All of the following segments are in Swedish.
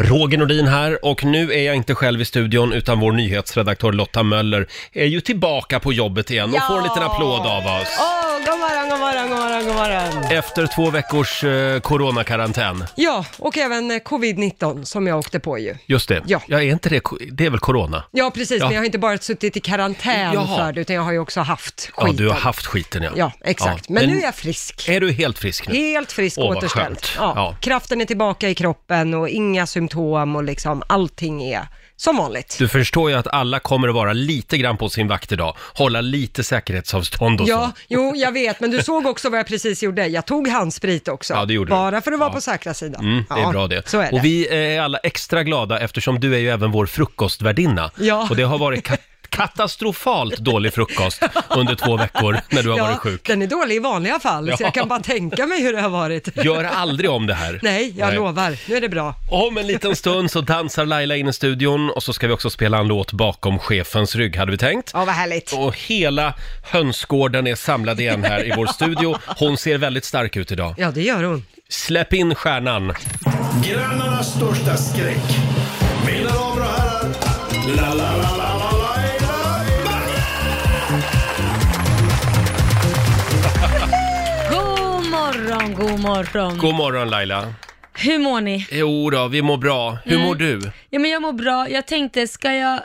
Roger Nordin här och nu är jag inte själv i studion utan vår nyhetsredaktör Lotta Möller är ju tillbaka på jobbet igen och Ja. får en liten applåd av oss. Åh, god morgon, god morgon, god morgon, god morgon. Efter två veckors eh, coronakarantän. Ja, och även eh, covid-19 som jag åkte på ju. Just det, ja. Ja. är inte det, ko- det är väl corona? Ja, precis, Ja. men jag har inte bara suttit i karantän Jaha. för det, utan jag har ju också haft skiten. Ja, du har haft skiten ja. Ja, exakt. Men nu är jag frisk. Är du helt frisk nu? Helt frisk Åh, vad återställd. skönt. Ja, Ja. Kraften är tillbaka i kroppen och inga symptom och liksom allting är som vanligt. Du förstår ju att alla kommer att vara lite grann på sin vakt idag, hålla lite säkerhetsavstånd och Ja, så. jo, jag vet, men du såg också vad jag precis gjorde. Jag tog handsprit också. Ja, det gjorde du. bara för att vara på säkra sidan. Mm, det är Ja, bra det. Så är det. Och vi är alla extra glada eftersom du är ju även vår frukostvärdinna. Ja. Och det har varit ka- katastrofalt dålig frukost under två veckor när du har ja, varit sjuk. Den är dålig i vanliga fall, så Ja. jag kan bara tänka mig hur det har varit. Gör aldrig om det här. Nej, jag lovar. Nu är det bra. Om en liten stund så dansar Laila in i studion och så ska vi också spela en låt bakom chefens rygg hade vi tänkt. Ja, vad härligt. Och hela hönsgården är samlad igen här i vår studio. Hon ser väldigt stark ut idag. Ja, det gör hon. Släpp in stjärnan. Grannarnas största skräck. Mina damer och herrar. La, la, la, la, la, la, God morgon, god morgon. God morgon Laila. Hur mår ni? Jo då, vi mår bra. Hur mår du? Ja, men jag mår bra. Jag tänkte, ska jag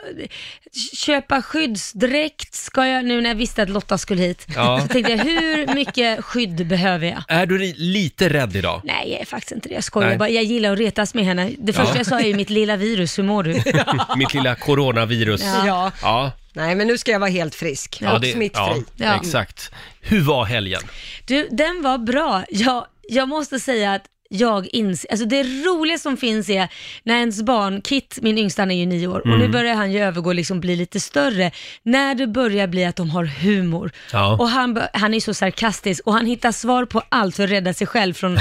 köpa skyddsdräkt? Ska jag, nu när jag visste att Lotta skulle hit, Ja. så tänkte jag, hur mycket skydd behöver jag? Är du li- lite rädd idag? Nej, jag är faktiskt inte det. Jag skojar Nej. bara. Jag gillar att retas med henne. Det första jag sa är ju mitt lilla virus, hur mår du? Mitt lilla coronavirus. Ja. Ja. Ja, Nej, men nu ska jag vara helt frisk ja, och smittfri. ja, Ja. exakt. Hur var helgen? Du, den var bra. Jag, jag måste säga att jag inser, alltså det roliga som finns är när ens barn, Kit, min yngsta han är ju nio år och nu Mm. börjar han ju övergå och liksom bli lite större, när det börjar bli att de har humor. Ja. Och han, bör- han är så sarkastisk och han hittar svar på allt för att rädda sig själv från,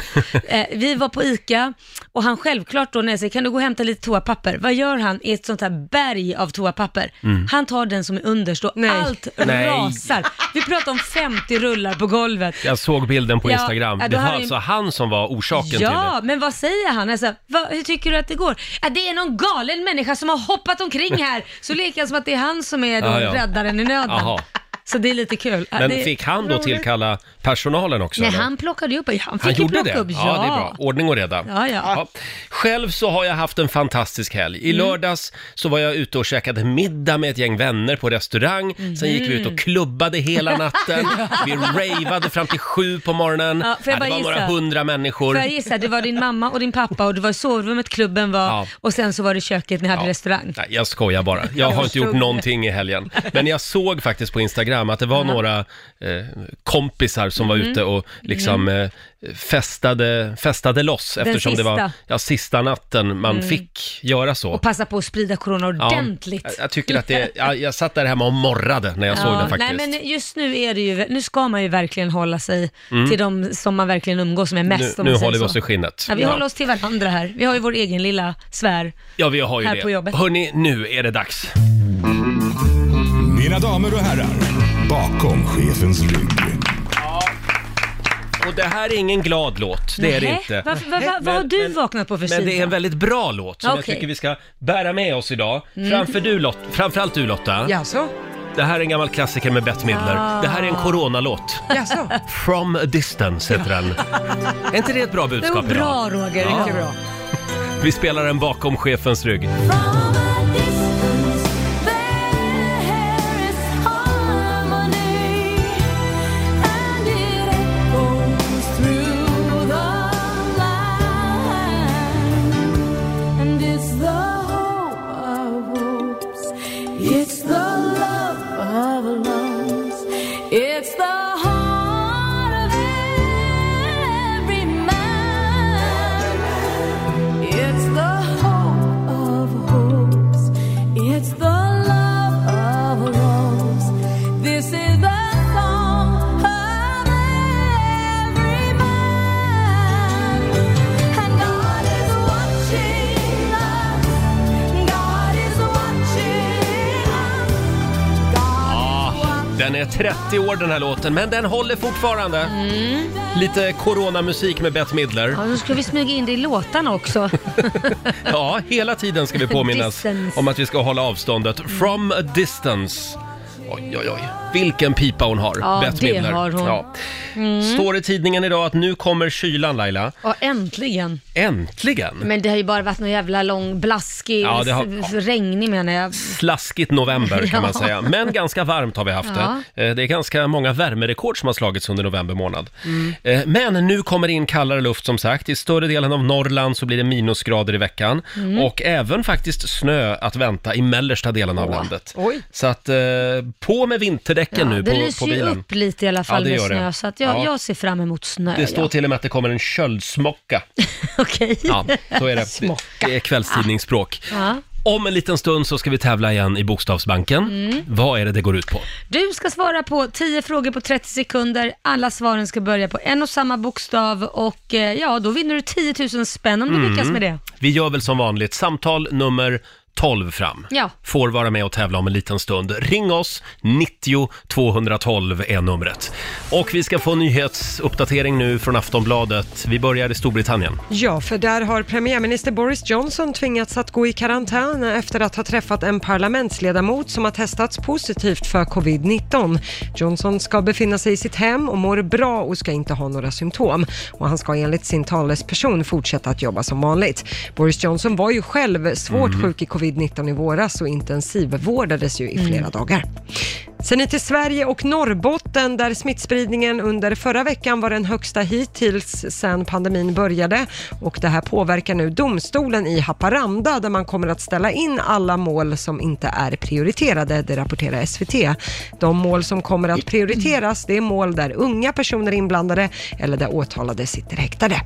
eh, vi var på ICA och han självklart då när jag säger, kan du gå och hämta lite toapapper? Vad gör han i ett sånt här berg av toapapper? Han tar den som är underst och Nej. allt Mm. Nej. rasar. Vi pratar om 50 rullar på golvet. Jag såg bilden på Ja, Instagram. ja, då det var har vi- alltså han som var orsaken till Ja, det. men vad säger han? Alltså, vad, hur tycker du att det går? Äh, det är någon galen människa som har hoppat omkring här, så leker han som att det är han som är då Ja, ja. räddaren i nöden. Aha. Så det är lite kul. Ja, Men det är fick han då roligt. tillkalla personalen också? Nej, eller? han plockade ju upp, han fick han ju gjorde plocka det? upp. Ja, det är bra. Ordning och reda. Ja, ja. Själv så har jag haft en fantastisk helg. I Mm. lördags så var jag ute och käkade middag med ett gäng vänner på restaurang. Mm. Sen gick vi ut och klubbade hela natten. Vi raveade fram till sju på morgonen. Ja, får jag det bara var några gissa? hundra människor. Får jag gissa, det var din mamma och din pappa och det var sovrummet klubben var Ja. och sen så var det köket ni hade Ja. restaurang. Nej, jag skojar bara. Jag har inte gjort någonting i helgen. Men jag såg faktiskt på Instagram att det var några eh, kompisar som Mm. var ute och liksom eh, festade, festade loss eftersom det var sista. Mm. ja, sista natten man fick göra så. Och passa på att sprida corona Ja, ordentligt. jag, jag tycker att det, jag, jag satt där hemma och morrade när jag såg det faktiskt. Nej, men just nu är det ju, nu ska man ju verkligen hålla sig till de som man verkligen umgås med mest. Mm. nu om nu man säger håller vi så. oss i skinnet. Ja, vi håller oss till varandra här. Vi har ju vår egen lilla sfär. ja, vi har ju här det. på jobbet. Hörni, nu är det dags. Mina damer och herrar. Bakom chefens rygg. Och det här är ingen glad låt, det är det Nähä? inte. Varför, vad- vad- vad har Men- du men- vaknat på för Men det är sida? en väldigt bra låt som jag Okej. Mm. tycker vi ska bära med oss idag. Framför du, Lot- framförallt du Lotta. Jaså? Det här är en gammal klassiker med Bette Midler. Ah. Det här är en coronalåt. Jaså? From a distance heter den. är inte det ett bra Det var budskap idag? bra Roger. Ja. Mycket bra. Vi spelar den bakom chefens rygg. It's the love of our lungs. It's the heart of every man. It's the hope of hope. Den är 30 år den här låten, men den håller fortfarande. Mm. Lite coronamusik med Bette Midler. Ja, nu ska vi smyga in det i låtarna också. Ja, hela tiden ska vi påminnas Distance. Mm. om att vi ska hålla avståndet. From a distance. Oj, oj, oj. Vilken pipa hon har, Ja, Bette det Midler. har hon. Mm. Står i tidningen idag att nu kommer kylan, Laila. Ja, äntligen. Äntligen! Men det har ju bara varit någon jävla lång blaskig, Ja, ja, det har- regnig menar jag. Slaskigt november kan man Ja. säga, men ganska varmt har vi haft Ja. det. Eh, Det är ganska många värmerekord som har slagits under november månad. Mm. Eh, Men nu kommer det in kallare luft som sagt. I större delen av Norrland så blir det minusgrader i veckan Mm. och även faktiskt snö att vänta i mellersta delen av landet. Oj. Så att eh, på med vinterdäcken nu det på, lyser på ju bilen. upp lite i alla fall det med gör det. snö, så att jag, Ja. jag ser fram emot snö. Det står ja. till och med att det kommer en köldsmocka. Okej. Ja, så är det. Det- Det är kvällstidningsspråk. Ja. Om en liten stund så ska vi tävla igen i Bokstavsbanken. Mm. Vad är det det går ut på? Du ska svara på 10 frågor på 30 sekunder. Alla svaren ska börja på en och samma bokstav och eh, ja, då vinner du 10 000 spänn om du Mm. lyckas med det. Vi gör väl som vanligt, samtal nummer 12 fram. Ja. Får vara med och tävla om en liten stund. Ring oss, 90 212 är numret. Och vi ska få nyhetsuppdatering nu från Aftonbladet. Vi börjar i Storbritannien. Ja, för där har premiärminister Boris Johnson tvingats att gå i karantän efter att ha träffat en parlamentsledamot som har testats positivt för covid-19. Johnson ska befinna sig i sitt hem och mår bra och ska inte ha några symptom. Och han ska enligt sin talesperson fortsätta att jobba som vanligt. Boris Johnson var ju själv svårt sjuk i covid-19 i våras och intensivvårdades ju i flera dagar. Sen nu till Sverige och Norrbotten där smittspridningen under förra veckan var den högsta hittills sedan pandemin började. Och det här påverkar nu domstolen i Haparanda där man kommer att ställa in alla mål som inte är prioriterade, det rapporterar SVT. De mål som kommer att prioriteras det är mål där unga personer är inblandade eller där åtalade sitter häktade.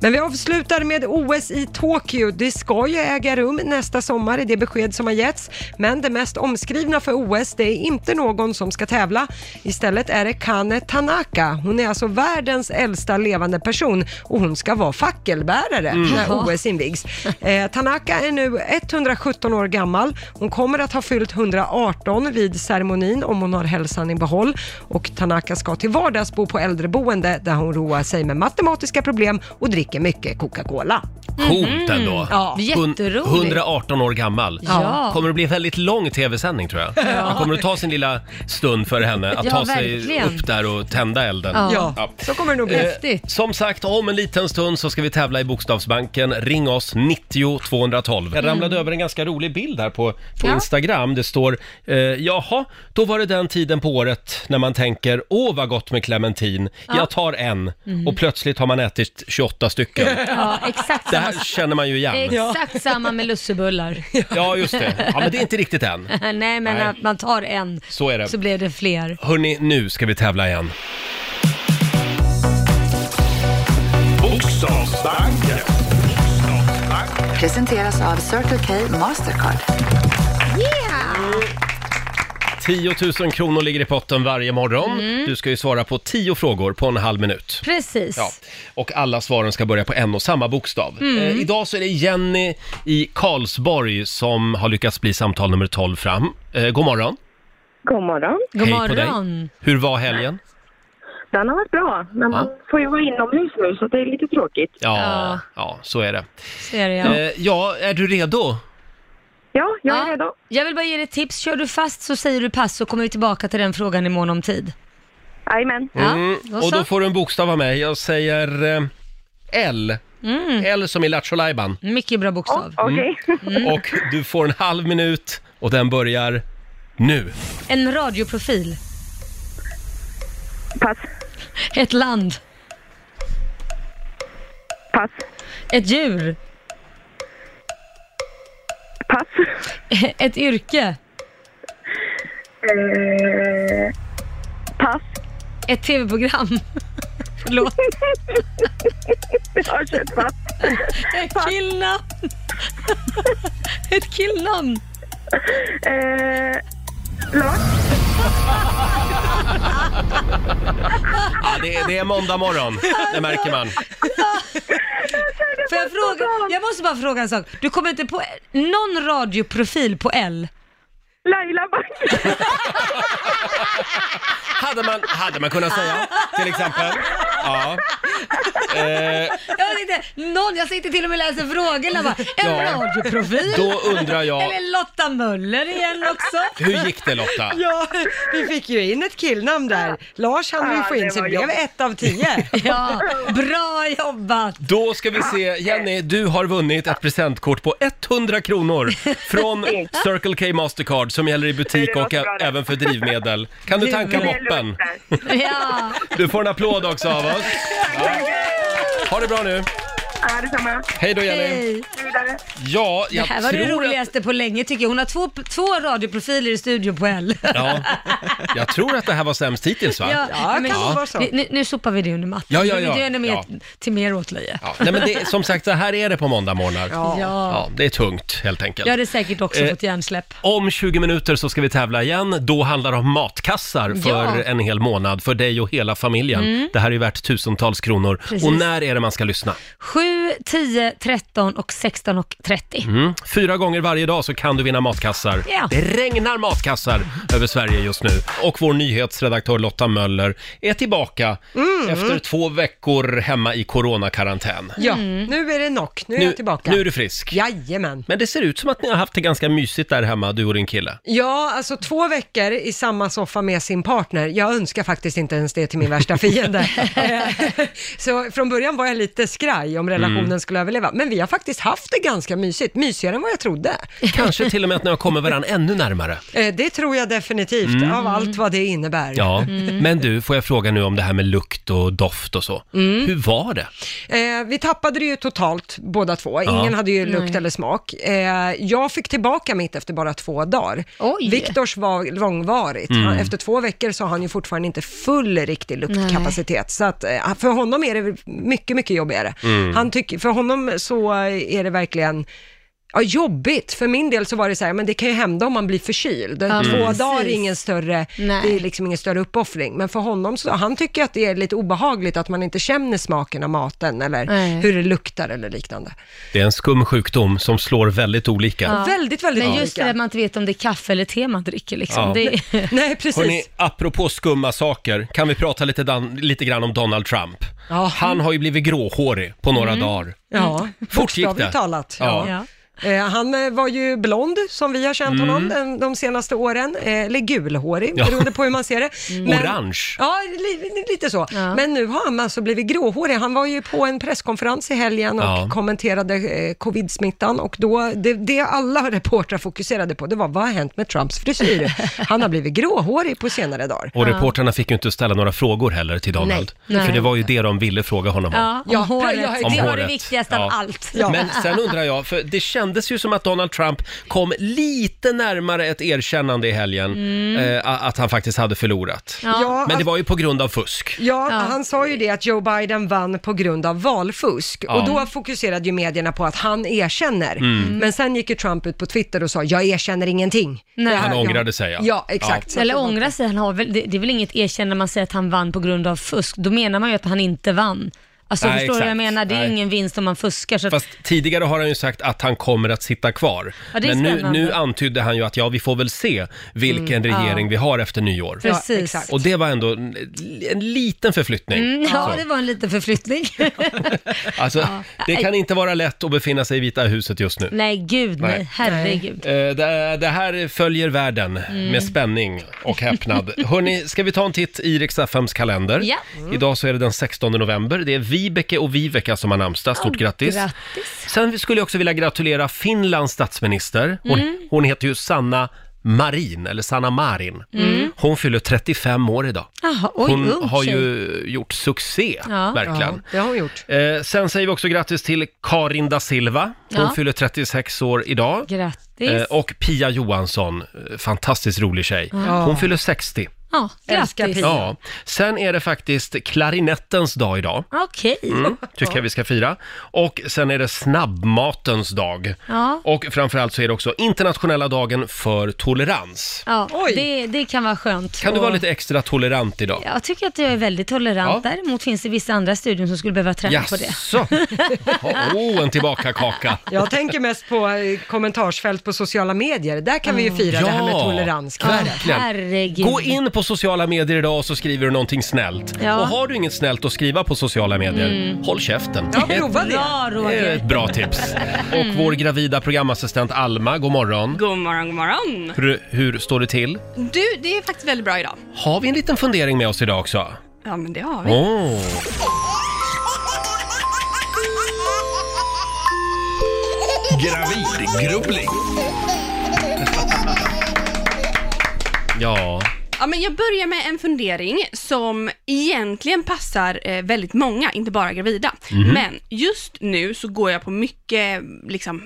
Men vi avslutar med OS i Tokyo. Det ska ju äga rum nästa sommar, är det besked som har getts. Men det mest omskrivna för OS, det är inte någon som ska tävla. Istället är det Kane Tanaka. Hon är alltså världens äldsta levande person och hon ska vara fackelbärare när OS invigs. Eh, Tanaka är nu 117 år gammal. Hon kommer att ha fyllt 118 vid ceremonin om hon har hälsan i behåll. Och Tanaka ska till vardags bo på äldreboende där hon roar sig med matematiska problem och dricker mycket Coca-Cola. Coolt ändå! Mhm. Ja, Hun- jätteroligt. 118 år gammal. Ja. Kommer det bli en väldigt lång tv-sändning tror jag. Det kommer att ta sin lilla stund för henne att Ja, ta sig verkligen. upp där och tända elden. Ja. Eh. Ja. så kommer det Eh, nog bli. Häftigt. Som sagt, om en liten stund så ska vi tävla i Bokstavsbanken. Ring oss, 90 212. Jag Mm. ramlade över en ganska rolig bild här på, på Instagram. Det står, eh, jaha, då var det den tiden på året när man tänker, åh vad gott med clementin, jag tar en. Mm. Och plötsligt har man ätit 28 stycken. Ja, exakt Det samma, här känner man ju igen. exakt samma med lussebullar. Ja, just det. Ja, men det är inte riktigt än. Nej, men Nej. att man tar en Så är det. så blir det fler. Hörni, nu ska vi tävla igen. Bokstavsbanken. Presenteras av Circle K Mastercard. 10 000 kronor ligger i potten varje morgon. Mm. Du ska ju svara på 10 frågor på en halv minut. Precis. Ja, och alla svaren ska börja på en och samma bokstav. Mm. Eh, idag så är det Jenny i Karlsborg som har lyckats bli samtal nummer 12 fram. Eh, god morgon! God morgon. God Hej på dig! morgon. Hur var helgen? Den har varit bra, men man får ju vara inomhus nu så det är lite tråkigt. Ja, ja. Ja. så är det. Ser jag. Eh, ja, är du redo? Ja, jag är Ja. redo. Jag vill bara ge dig ett tips. Kör du fast så säger du pass så kommer vi tillbaka till den frågan i mån om tid. Jajamän. Ja, Mm, då och så. då får du en bokstav av mig. Jag säger eh, L. Mm. L som i Lattjo Lajban. Mycket bra bokstav. Okej. Mm. Och du får en halv minut och den börjar nu. En radioprofil. Pass. Ett land. Pass. Ett djur. Pass. Ett yrke. Eh, pass. Ett tv-program. Förlåt. Jag har kört pass. Ett killnamn. Ett killnamn. Eh, Lars. Ja, det, är- det är måndag morgon, det märker man. Får jag fråga? Jag måste bara fråga en sak. Du kommer inte på någon radioprofil på L? Laila Bagge. Hade man, hade man kunnat säga, till exempel. Ja. Eh, Jag vet inte, någon, jag sitter till och med och läser frågorna bara. En Ja. radioprofil. då undrar jag, Eller Lotta Möller igen också. hur gick det Lotta? Ja, vi fick ju in ett killnamn där. Lars hann vi få in, så det blev ett av tio. Ja, bra jobbat. Då ska vi se, Jenny, du har vunnit ett presentkort på 100 kronor från Circle K Mastercard som gäller i butik Det låter och bra ä- det. även för drivmedel. Kan du tanka Det är moppen? lugnt där. Ja. Du får en applåd också av oss. Ja. Ha det bra nu. Ja, detsamma. Hej då Jenny. Hej. Vidare. Ja, Det jag här var det tror att... roligaste på länge tycker jag. Hon har två, två radioprofiler i studion på L. Ja, jag tror att det här var sämst hittills va? Ja, kan det vara så? Nu, nu, nu sopar vi det under mattan. Ja, ja, ja. Det är ännu mer Ja. till mer åtlöje. Ja. Ja. Nej, men det, som sagt, så här är det på måndagmorgnar. Ja. Ja, det är tungt helt enkelt. Jag hade säkert också Eh. fått hjärnsläpp. Om 20 minuter så ska vi tävla igen. Då handlar det om matkassar för Ja. en hel månad för dig och hela familjen. Mm. Det här är ju värt tusentals kronor. Precis. Och när är det man ska lyssna? 7, 10, 13 och 16 och 30. Mm. Fyra gånger varje dag så kan du vinna matkassar. Ja. Det regnar matkassar över Sverige just nu. Och vår nyhetsredaktör Lotta Möller är tillbaka efter två veckor hemma i coronakarantän. Mm. Ja, Mm. nu är det knock. Nu är Nu, jag tillbaka. nu är du frisk. Jajamän. Men det ser ut som att ni har haft det ganska mysigt där hemma, du och din kille. Ja, alltså två veckor i samma soffa med sin partner. Jag önskar faktiskt inte ens det till min värsta fiende. Eh, så från början var jag lite skraj om relationen skulle överleva. Men vi har faktiskt haft det ganska mysigt. Mysigare än vad jag trodde. Kanske till och med att ni har kommit varandra ännu närmare. Eh, det tror jag definitivt, av allt vad det innebär. Ja, Mm. men du, får jag fråga nu om det här med lukt och doft och så. Hur var det? Eh, vi tappade det ju totalt båda två. Ingen hade Mm. ju lukt eller smak. Eh, jag fick tillbaka mitt efter bara två dagar. Oj. Viktors var långvarigt. Han, efter två veckor så har han ju fortfarande inte full riktig luktkapacitet. Så att, eh, för honom är det mycket, mycket jobbigare. Han tycker, för honom så eh, är det verkligen Ja, jobbigt. För min del så var det så här, men det kan ju hända om man blir förkyld. Två precis. dagar är ingen större, Nej. det är liksom ingen större uppoffring. Men för honom så, han tycker att det är lite obehagligt att man inte känner smaken av maten eller Nej. hur det luktar eller liknande. Det är en skum sjukdom som slår väldigt olika. Ja. Väldigt, väldigt Men just det olika. att man inte vet om det är kaffe eller te man dricker liksom. Ja. Det är... Nej, precis. Hörrni, apropå skumma saker, kan vi prata lite, dan- lite grann om Donald Trump? Ja. Han har ju blivit gråhårig på några dagar. Ja, Fort gick det. bokstavligt talat. Ja. Mm. Ja. Eh, han eh, var ju blond, som vi har känt honom den, de senaste åren, eh, eller gulhårig, Ja. Mm. beroende på hur man ser det. Orange. Ja, li, lite så. Ja. Men nu har han alltså blivit gråhårig. Han var ju på en presskonferens i helgen och Ja. kommenterade eh, covid-smittan och då, det, det alla reportrar fokuserade på, det var vad har hänt med Trumps frisyr? Han har blivit gråhårig på senare dagar. Och reportrarna fick ju inte ställa några frågor heller till Donald. Nej. För Nej. det var ju det de ville fråga honom om. Ja, om Ja, håret. ja, det Om var det håret. viktigaste av Ja. allt. Ja. Men sen undrar jag, för det kändes ju som att Donald Trump kom lite närmare ett erkännande i helgen eh, att han faktiskt hade förlorat. Mm. Ja, alltså- Men det var ju på grund av fusk. Ja, han sa ju det att Joe Biden vann på grund av valfusk Ja. Mm. och då fokuserade ju medierna på att han erkänner. Men sen gick ju Trump ut på Twitter och sa jag erkänner ingenting. Nej. Det här- Han ångrade ja. sig, ja. ja. exakt. Så att Eller det var- ångra sig, han har väl, det, det är väl inget erkännande man säger att han vann på grund av fusk. Då menar man ju att han inte vann. Alltså Nej, förstår du vad jag exakt. menar? Det är Nej. ingen vinst om man fuskar. Så att, Fast tidigare har han ju sagt att han kommer att sitta kvar. Ja, det är Men nu, spännande. nu antydde han ju att ja, vi får väl se vilken Mm, regering vi har efter nyår. Ja, precis. exakt. Och det var ändå en, en liten förflyttning. Mm, ja, Så. det var en liten förflyttning. Alltså, Det kan inte vara lätt att befinna sig i Vita huset just nu. nej, gud nej. Nej. Herregud. Eh, Det, det här följer världen Mm. med spänning och häpnad. Hörni, ska vi ta en titt i Rix FMs kalender? Mm. Ja. Idag så är det den 16 november. Det är Vibeke och Viveka som har namnsdag. Stort grattis. grattis. Sen skulle jag också vilja gratulera Finlands statsminister. Hon, Mm. hon heter ju Sanna Marin, eller Sanna Marin. Hon fyller 35 år idag. Mm. Jaha, oj, Hon ung har tjej. ju gjort succé, Ja. verkligen. Ja, det har hon gjort. Eh, sen säger vi också grattis till Karin da Silva. Hon Ja. fyller 36 år idag. Grattis. Eh, och Pia Johansson, eh, fantastiskt rolig tjej. Hon fyller 60. Ja, Älskar grattis. pizza. Ja. Sen är det faktiskt klarinettens dag idag. Okej. Mm, tycker jag vi ska fira. Och sen är det snabbmatens dag. Ja. Och framförallt så är det också internationella dagen för tolerans. Ja, Oj. det, det kan vara skönt. Kan du Och- vara lite extra tolerant idag? Jag tycker att jag är väldigt tolerant. Ja. Däremot finns det vissa andra studier som skulle behöva träna på det. Jaså? Åh, oh, en tillbaka-kaka. Jag tänker mest på eh, kommentarsfält på sociala medier. Där kan vi ju fira det här med tolerans. verkligen. Herregud. Gå in på sociala medier idag och så skriver du någonting snällt. Ja. Och har du inget snällt att skriva på sociala medier, håll käften. Ja, Det är- prova det. Bra det är Roger. ett bra tips. Och vår gravida programassistent Alma, god morgon. God morgon, god morgon. Hur, hur står det till? Du, det är faktiskt väldigt bra idag. Har vi en liten fundering med oss idag också? Oh, Ja, men det har vi. Åh, Gravidgrubbling. ja. Ja, men jag börjar med en fundering som egentligen passar eh, väldigt många, inte bara gravida. Men just nu så går jag på mycket liksom,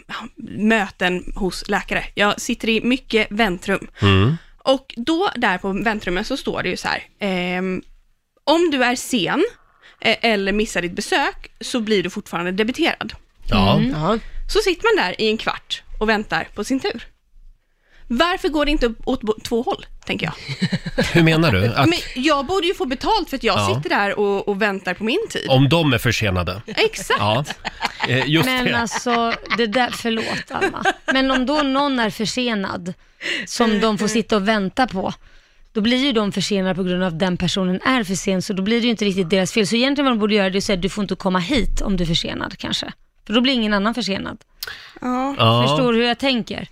möten hos läkare. Jag sitter i mycket väntrum. Och då där på väntrummet så står det ju så här, ehm, om du är sen eh, eller missar ditt besök så blir du fortfarande debiterad. Ja. Ja. Så sitter man där i en kvart och väntar på sin tur. Varför går det inte upp åt bo- två håll, tänker jag? Hur menar du? Att Men jag borde ju få betalt för att jag Ja. sitter där och, och väntar på min tid. om de är försenade? Exakt. Ja, Eh, just Men det. alltså, det där, förlåt Alma. Men om då någon är försenad, som de får sitta och vänta på, då blir ju de försenade på grund av att den personen är för sen, så då blir det ju inte riktigt deras fel. Så egentligen vad de borde göra det är att säga, du får inte komma hit om du är försenad kanske. För då blir ingen annan försenad. Ja. Förstår du hur jag tänker?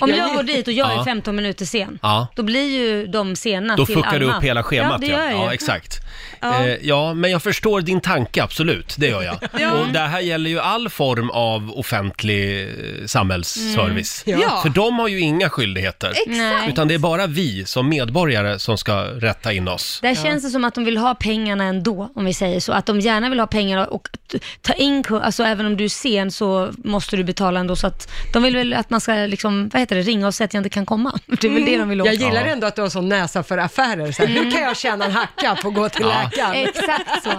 Om jag går dit och jag Ja. är 15 minuter sen, Ja. då blir ju de sena Då till fuckar du Alma. upp hela Ja, schemat. det gör jag ja ju. exakt. Ja. Eh, ja, men jag förstår din tanke, absolut. Det gör jag. Och det här gäller ju all form av offentlig eh, samhällsservice. Mm. Ja. För de har ju inga skyldigheter. Exakt. Utan det är bara vi som medborgare som ska rätta in oss. Där känns det som att de vill ha pengarna ändå, om vi säger så. Att de gärna vill ha pengarna och t- ta in kund- alltså även om du är sen så måste du betala ändå. Så att de vill väl att man ska liksom, vad heter det, ringa och säga att jag inte kan komma. Det är väl det de vill åt. Jag gillar ändå att du har sån näsa för affärer. Så här, Nu kan jag tjäna en hacka på att gå till Ja. läkaren. Exakt så.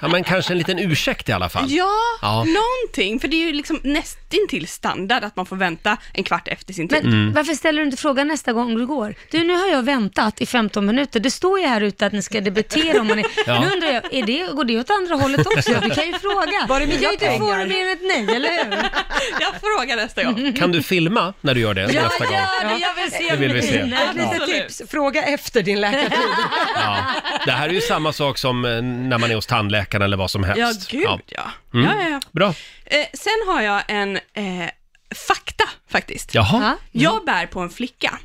Ja, men kanske en liten ursäkt i alla fall. Ja, Ja. någonting. För det är ju liksom nästintill standard att man får vänta en kvart efter sin tid. Men Mm. varför ställer du inte frågan nästa gång du går? Du, nu har jag väntat i 15 minuter. Det står ju här ute att ni ska debitera om man är... Ja. Nu undrar jag, är det, går det åt andra hållet också? Du kan ju fråga. Var det mina jag inte får mer än ett nej, eller hur? Jag frågar nästa gång. Kan du filma när du gör det nästa gång? det. Jag vill se Det vill vi se. mina. Ett litet tips, fråga efter din läkartid. Ja. Det här är ju samma sak som eh, när man är hos tandläkaren eller vad som helst. Ja, gud ja. ja. Mm. ja, ja, Bra. Eh, sen har jag en eh, fakta faktiskt. Jaha. Jag bär på en flicka.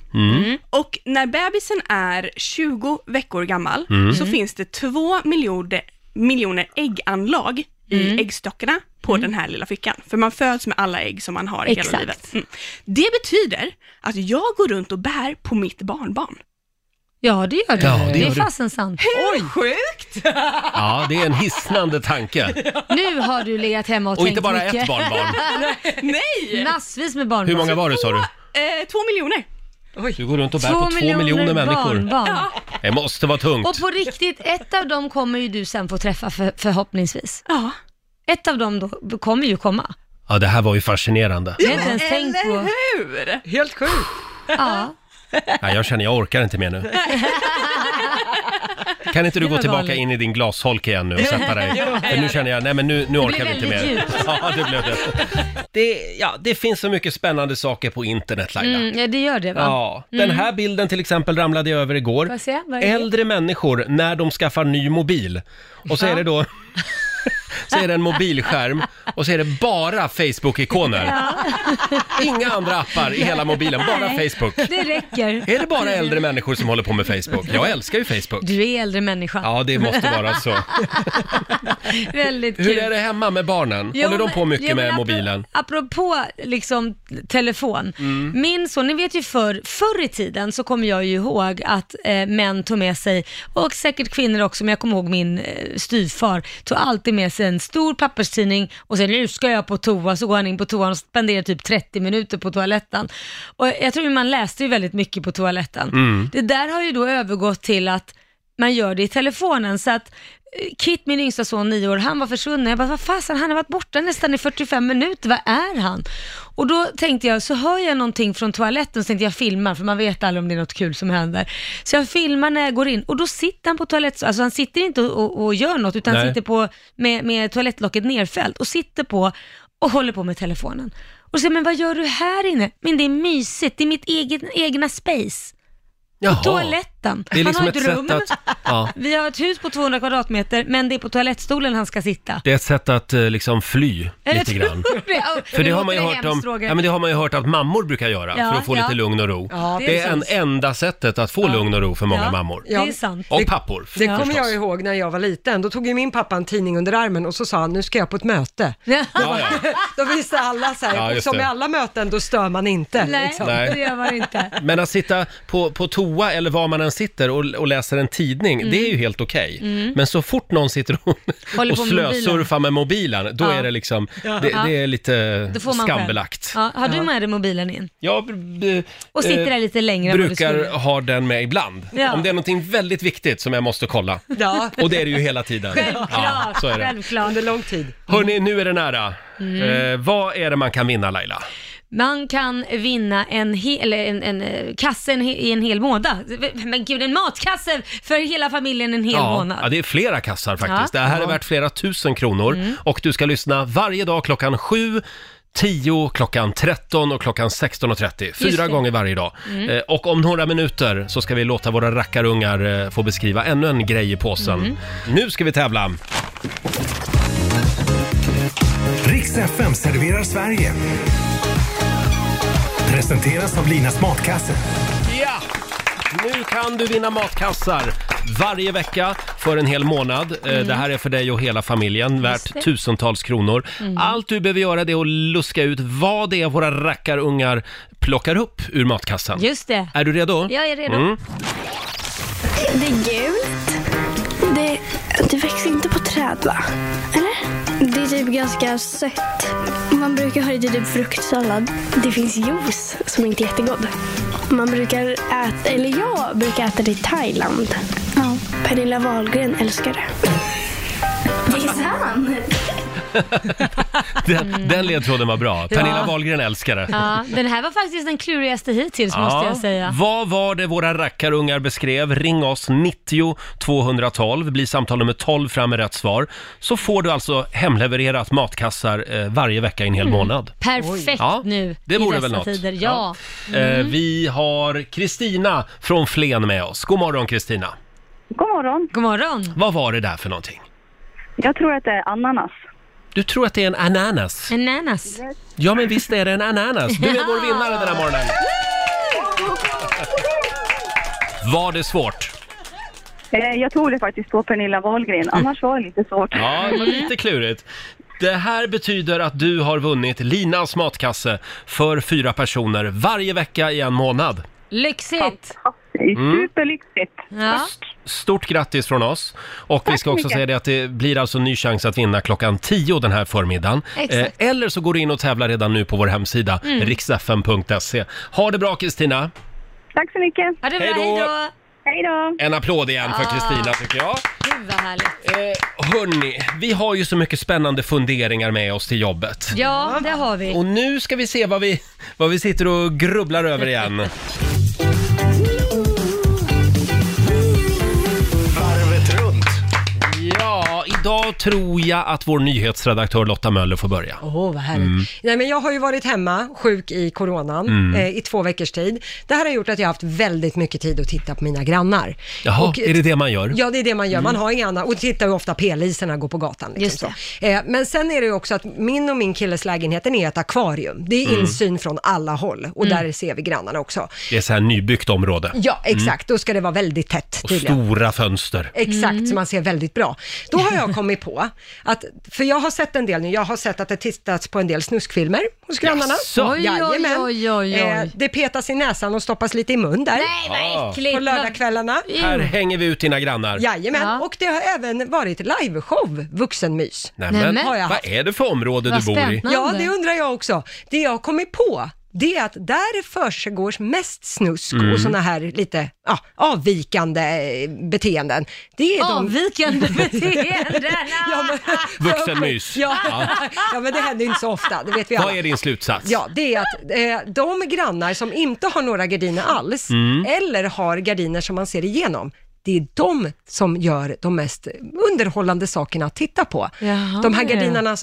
Och när bebisen är 20 veckor gammal så finns det 2 miljoner, miljoner ägganlag i äggstockarna på den här lilla flickan. För man föds med alla ägg som man har i hela Exakt. livet. Mm. Det betyder att jag går runt och bär på mitt barnbarn. Ja, det gör du. Ja, det det, gör är du. fasen sant. Oj, sjukt! Ja, det är en hisnande tanke. Nu har du legat hemma Och och, tänkt inte bara mycket. ett barnbarn. Nej! Massvis med barnbarn. Hur många var det sa du? Eh, två miljoner. Du går runt och bär på två miljoner, människor. barnbarn. Det måste vara tungt. Och på riktigt, ett av dem kommer ju du sen få träffa för, förhoppningsvis. Ja. Ett av dem då kommer ju komma. Ja, det här var ju fascinerande. Jag har inte ens tänkt på. hur? Helt sjukt. Ja. Ja, jag känner, jag orkar inte mer nu. Kan inte du Det gå var tillbaka galet. in i din glasholk igen nu och sätta dig? För nu känner jag, nej men nu, nu orkar vi inte väldigt mer. djupt. Ja, det blev det. det. Ja, det finns så mycket spännande saker på internet Laila. Mm, ja, det gör det va? Ja, den här bilden till exempel ramlade jag över Får igår. jag se? Vad är det? Äldre människor när de skaffar ny mobil. Och så är det då... Så är det en mobilskärm och så är det bara Facebook-ikoner. Inga andra appar i hela mobilen, bara Nej. Facebook. Det räcker. Är det bara äldre människor som håller på med Facebook? Jag älskar ju Facebook. Du är äldre människa. Ja, det måste vara så. Väldigt kul. Hur är det hemma med barnen? Jo, Håller de på men- mycket jo, men med apro- mobilen? Mm. Apropå liksom telefon. Min son, ni vet ju förr, förr i tiden så kommer jag ju ihåg att eh, män tog med sig, och säkert kvinnor också, men jag kommer ihåg min eh, styvfar, tog alltid med sig en stor papperstidning och sen nu ska jag på toa, så går han in på toan och spenderar typ 30 minuter på toaletten. Och jag tror ju man läste ju väldigt mycket på toaletten. Mm. Det där har ju då övergått till att man gör det i telefonen. Så att eh, Kit, min yngsta son, nio år, han var försvunnen. Jag bara, vad fasen, han har varit borta nästan i 45 minuter, vad är han? Och då tänkte jag, så hör jag någonting från toaletten, så tänkte jag filmar, för man vet aldrig om det är något kul som händer. Så jag filmar när jag går in och då sitter han på toaletten, alltså han sitter inte och, och, och gör något, utan Nej. sitter på, med, med toalettlocket nerfällt och sitter på och håller på med telefonen. Och så säger jag, men vad gör du här inne? Men det är mysigt, det är mitt eget, egna space. Jaha. Toaletten. Det är liksom han har ett ett rum. sätt att... Ja. Vi har ett hus på 200 kvadratmeter, men det är på toalettstolen han ska sitta. Det är ett sätt att eh, liksom fly lite grann. För det har, man ju hört om, ja, men det har man ju hört att mammor brukar göra Ja, för att få ja. lite lugn och ro. Ja, det, det är är en sant. enda sättet att få lugn och ro för många Ja. mammor. Det är sant. Och pappor Det förstås. kommer jag ihåg när jag var liten. Då tog ju min pappa en tidning under armen och så sa han, nu ska jag på ett möte. Ja, ja. Då visste alla så här, Ja, och just som det. i alla möten, då stör man inte. Nej, Liksom. Nej. det gör man inte. Men att sitta på, på toa eller var man än sitter och, och läser en tidning, det är ju helt okej. Men så fort någon sitter och, Mm. Håller och på med mobilen. slösurfar med mobilen, då Ja. är det liksom, det, det är lite Då får man själv. skambelagt. Ja, har du med dig mobilen in? Jag b- Och sitter eh, där lite längre än vad du brukar skulle. ha den med ibland. Ja. Om det är någonting väldigt viktigt som jag måste kolla. Ja, Och det är det ju hela tiden. Självklart, Ja, så är det. självklart. under lång tid. Hörni, nu är det nära. Mm. Eh, vad är det man kan vinna Laila? Man kan vinna en, hel, eller en, en eh, kasse en, he- i en hel månad. Men gud, en matkasse för hela familjen en hel månad. ja, det är flera kassar faktiskt. Ja. Mm. Det här är värt flera tusen kronor. Och du ska lyssna varje dag klockan 7, 10, klockan 13 och klockan 16.30. Fyra det. Mm. gånger varje dag. Eh, och om några minuter så ska vi låta våra rackarungar eh, få beskriva ännu en grej i påsen. Mm. Nu ska vi tävla! Riks FM serverar Sverige. Presenteras av Linas matkasse. Ja! Nu kan du vinna matkassar varje vecka för en hel månad. Eh, Mm. Det här är för dig och hela familjen, värt tusentals kronor. Mm. Allt du behöver göra det är att luska ut vad det är våra rackarungar plockar upp ur matkassen. Just det. Är du redo? Jag är redo. Mm. Det är gult. Det, det växer inte på träd, va? Eller? Det är typ ganska sött. Man brukar ha det till typ fruktsallad. Det finns juice som inte är jättegod. Man brukar äta, eller jag brukar äta det i Thailand. Ja. Pernilla Wahlgren älskar det. Det är sant! Den, den ledtråden var bra. Pernilla Mm. Ja. Wahlgren älskar det. Ja, den här var faktiskt den klurigaste hittills måste jag säga. Vad var det våra rackarungar beskrev? Ring oss 90 212, blir samtal nummer 12 fram med rätt svar. Så får du alltså hemlevererat matkassar eh, varje vecka i en Mm. hel månad. Perfekt Ja, nu det vore i dessa väl något. tider. Ja. Ja. Eh, Vi har Kristina från Flen med oss. God morgon Kristina. God morgon. God morgon. Vad var det där för någonting? Jag tror att det är ananas. Du tror att det är en ananas? Ananas. Ja, men visst är det en ananas. Du är vår vinnare den här morgonen. Var det svårt? Eh, Jag tror det faktiskt på Pernilla Wahlgren, annars var det lite svårt. Ja, det var lite klurigt. Det här betyder att du har vunnit Linas matkasse för fyra personer varje vecka i en månad. Lyxigt. Det är Superlyxigt. Ja. Stort grattis från oss. Och vi ska också säga det att det blir alltså en ny chans att vinna klockan 10 den här förmiddagen. Exakt. Eh, eller så går du in och tävlar redan nu på vår hemsida, riksfn.se. E. Ha det bra Kristina! Tack så mycket. Ha det bra, Hej då. hej då. Hej då. En applåd igen för Kristina tycker jag. Gud vad härligt. Eh, hörni, vi har ju så mycket spännande funderingar med oss till jobbet. Ja, det har vi. Och nu ska vi se vad vi, vad vi sitter och grubblar över igen. Varvet runt. Ja, idag tror jag att vår nyhetsredaktör Lotta Möller får börja. Åh, vad härligt. Mm. Nej, men jag har ju varit hemma sjuk i coronan eh, i två veckors tid. Det här har gjort att jag har haft väldigt mycket tid att titta på mina grannar. Jaha, Och- är det det man gör? Mm. Ja, det är det man gör. Man har inga andra. Och tittar ju ofta p-liserna går på gatan. Liksom Just det. så. Eh, men sen är det ju också att min och min killes lägenheten är ett akvarium. Det Mm. är insyn från alla håll och Mm. där ser vi grannarna också. Det är så här nybyggt område Ja, exakt. Då ska det vara väldigt tätt och tydligen. stora fönster. Mm. Exakt, så man ser väldigt bra. Då har jag kommit vi på att, för jag har sett en del nu, jag har sett att det tittats på en del snuskfilmer hos grannarna. Jaså? Oj, oj, Jajamän. oj, oj, oj. Eh, det petas i näsan och stoppas lite i mun där Nej, vad Ah. äckligt. på lördagskvällarna. Här hänger vi ut dina grannar. Jajamän, Ja. och det har även varit liveshow, vuxenmys. Nämen, Nämen. Har jag vad haft. är det för område Vad du bor i? spännande. Ja, det undrar jag också. Det jag har kommit på, det är att där försiggår mest snusk Mm. och sådana här lite ja, avvikande eh, beteenden. Det är de... Avvikande beteenden. Ja, men, Vuxenmys. Ja. ja, men det händer ju inte så ofta, det vet vi alla. Vad är din slutsats? Ja, det är att eh, de grannar som inte har några gardiner alls, Mm. eller har gardiner som man ser igenom, det är de som gör de mest underhållande sakerna att titta på. Jaha. de här gardinerna,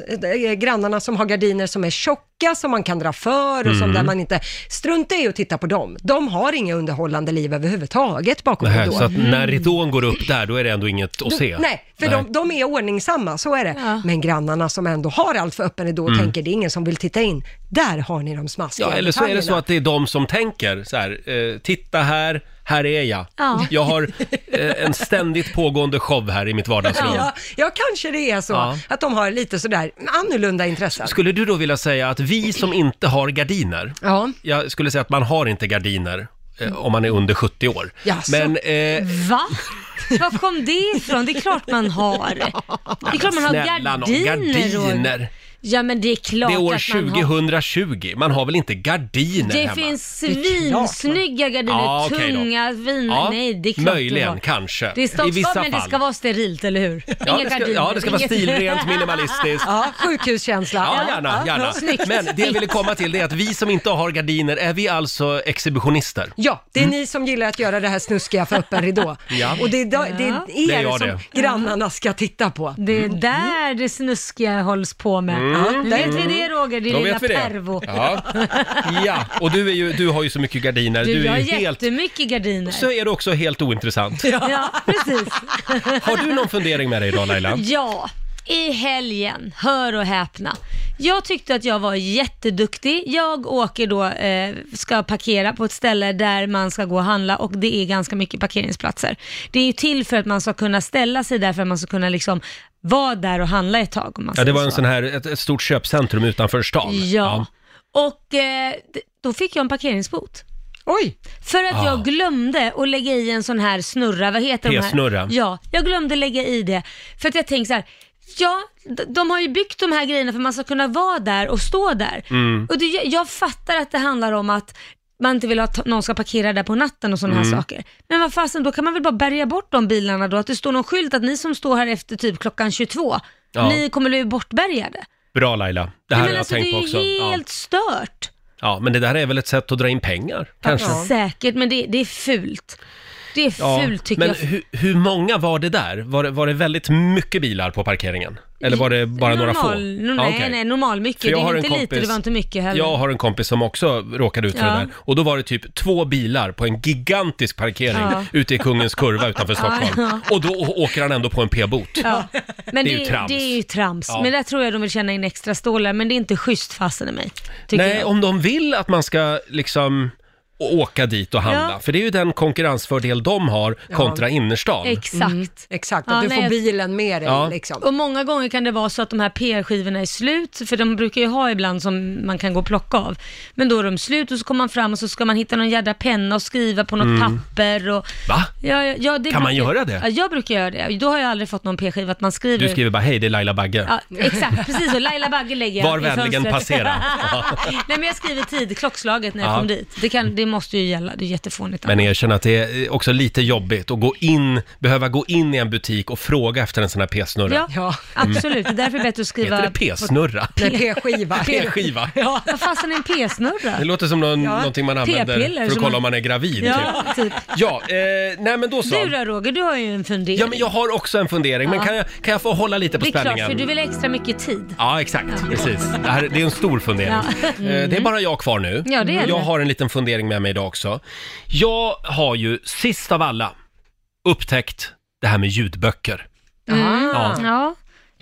eh, grannarna som har gardiner som är tjocka, som man kan dra för och Mm. som där man inte struntar i att titta på dem. De har inga underhållande liv överhuvudtaget bakom Nähä, ridån. så att när ridån går upp där, då är det ändå inget att se? Mm. Nej, för De, de är ordningsamma, så är det. Men grannarna som ändå har allt för öppen ridå och tänker det är ingen som vill titta in, där har ni de smaskiga Mm. Ja, eller så är det så detaljerna. att det är de som tänker så här, eh, titta här, här är jag. Ja. Jag har eh, en ständigt pågående show här i mitt vardagsrum. Ja, ja, kanske det är så Ja. att de har lite sådär annorlunda intressen. Skulle du då vilja säga att vi som inte har gardiner, Ja. jag skulle säga att man har inte gardiner eh, om man är under 70 år. Jaså? Men eh, Va? Var kom det ifrån? Det är klart man har. Det är klart man har snälla nån, gardiner. gardiner! Roger. Ja men det är klart Det är år att man har. 2020, man har väl inte gardiner Det hemma? finns är klart man- svinsnygga gardiner, Ja, okej då. tunga, fina. Ja, Nej, det är klart möjligen, du har. kanske. Det är I vissa stoppstopp, men det fall. ska vara sterilt, eller hur? Ja, Inga det ska, gardiner, ja, det ska vara inget- stilrent, minimalistiskt. Ja, sjukhuskänsla. Ja, gärna, gärna. Snyggt. Men det jag ville komma till det är att vi som inte har gardiner, är vi alltså exhibitionister? Ja, det är ni som gillar att göra det här snuskiga för öppen ridå. Mm. Ja. Och det är, da- det Ja. Det är är er jag som det. grannarna ska titta på. Det är Mm. där det snuskiga hålls på med. Ja, vet vi det Roger, din lilla pervo? Ja. ja, och du, är ju, du har ju så mycket gardiner. Du, Du, jag är har ju helt... jättemycket gardiner. Så är du också helt ointressant. Ja, precis. Har du någon fundering med dig idag Laila? Ja, i helgen, hör och häpna. Jag tyckte att jag var jätteduktig. Jag åker då, eh, ska parkera på ett ställe där man ska gå och handla och det är ganska mycket parkeringsplatser. Det är ju till för att man ska kunna ställa sig där för att man ska kunna liksom vara där och handla ett tag. Om man Ja, det säger var en så. sån här, ett, ett stort köpcentrum utanför stan. Ja. Och eh, d- då fick jag en parkeringsbot. Oj! För att Ah. jag glömde att lägga i en sån här snurra, vad heter de här? P-snurra. Ja, jag glömde lägga i det. För att jag tänkte så här, ja, d- de har ju byggt de här grejerna för att man ska kunna vara där och stå där. Mm. Och det, jag fattar att det handlar om att man inte vill att någon ska parkera där på natten och sådana Mm. här saker. Men vad fasen, då kan man väl bara bärga bort de bilarna då? Att det står någon skylt att ni som står här efter typ klockan 22, Ja. ni kommer bli bortbärgade. Bra Laila, det här Nej, har men jag alltså, tänkt det på är också. ju helt Ja. stört. ja, men det där är väl ett sätt att dra in pengar, kanske? Säkert, men det, det är fult. Det är fult tycker men jag. Hur, hur många var det där? Var det, var det väldigt mycket bilar på parkeringen? Eller var det bara några få? Normal- Ja, No, nej, okej. nej, normal mycket. För jag det har är en inte lite, kompis- det var inte mycket heller. Jag har en kompis som också råkade ut för Ja. det där. Och då var det typ två bilar på en gigantisk parkering Ja. ute i Kungens Kurva utanför Stockholm. Ja, Och då å- åker han ändå på en p-bot. Ja. Men Det det, är ju trams. det är ju trams. Ja. Men där tror jag de vill tjäna in extra stålar, men det är inte schysst fasen i mig. Tycker Nej, jag. om de vill att man ska liksom å- åka dit och handla. Ja. För det är ju den konkurrensfördel de har kontra innerstan. Exakt. Mm, Exakt, Ja, att du nej, får jag- bilen med dig Ja. liksom. Och många gånger kan det vara så att de här PR-skivorna är slut, för de brukar ju ha ibland som man kan gå och plocka av. Men då är de slut och så kommer man fram och så ska man hitta någon jädra penna och skriva på något papper och... Mm. Va? Ja, ja, ja, det Kan man brukar- göra det? Ja, jag brukar göra det. Då har jag aldrig fått någon p-skiva att man skriver... Du skriver bara hej, det är Laila Bagge. Ja, exakt, precis så. Laila Bagge lägger jag Var i vänligen fönstret. passera. Nej men jag skriver tid, klockslaget när jag Ja. kom dit. Det, kan, det måste ju gälla, det är jättefånigt. Men erkänn att det är också lite jobbigt att gå in, behöva gå in i en butik och fråga efter en sån här p-snurra. Ja, Ja. absolut. Det är därför det är bättre att skriva... Mm. Heter det p-snurra? Nej, P-skiva. P-skiva? Vad fasen är en p-snurra? Det låter som någon, någonting man använder P-piller för att som kolla man- om man är gravid. Ja, Typ. typ. Ja, eh, nej men då så. Du då Roger, du har ju en fundering. Ja, men jag har också en fundering, men kan jag, kan jag få hålla lite på Det är klart, spänningen? för du vill ha extra mycket tid. Ja, exakt. Precis. Det, här, det är en stor fundering. Ja. Mm. Eh, Det är bara jag kvar nu. Ja, det är det. jag har en liten fundering med mig idag också. Jag har ju sist av alla upptäckt det här med ljudböcker. Mm. Ja. Ja.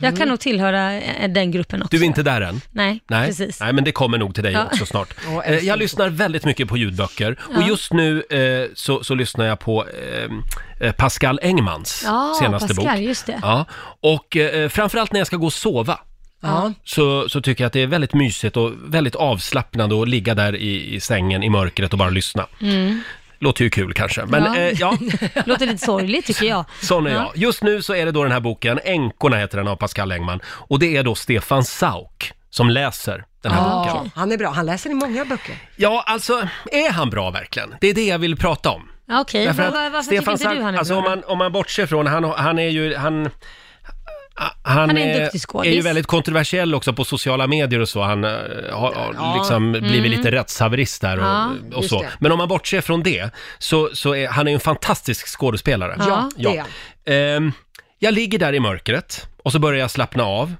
Jag kan nog tillhöra eh, den gruppen också. Du är inte där än? Nej, Nej, precis. Nej men det kommer nog till dig Ja. också snart. Åh, Eh, älskling. jag lyssnar väldigt mycket på ljudböcker och Ja. just nu eh, så, så lyssnar jag på eh, eh, Pascal Engmans Ja, senaste Pascal, bok. just det. Ja, och eh, framförallt när jag ska gå och sova. Ja. Så, så tycker jag att det är väldigt mysigt och väldigt avslappnande att ligga där i, i sängen i mörkret och bara lyssna. Mm. Låter ju kul kanske, men Ja. ja. Eh, ja, Låter lite sorgligt tycker jag. sån är Ja. jag. Just nu så är det då den här boken, Änkorna heter den av Pascal Engman, och det är då Stefan Sauk som läser den Ah, här boken. Ja, han är bra. Han läser i många böcker. Ja, alltså, är han bra verkligen? Det är det jag vill prata om. Ja, Okej, Därför var, att var, varför Stefan tycker inte Sand- du han är alltså, bra? Om man, om man bortser från, han, han är ju... Han, Han är en duktig skådis. är ju väldigt kontroversiell också på sociala medier och så. Han eh, har, har Ja. liksom Mm. blivit lite rättshaverist där och, Ja, och just så. det. Men om man bortser från det så, så är han är ju en fantastisk skådespelare. Ja, det är Ehm, jag ligger där i mörkret och så börjar jag slappna av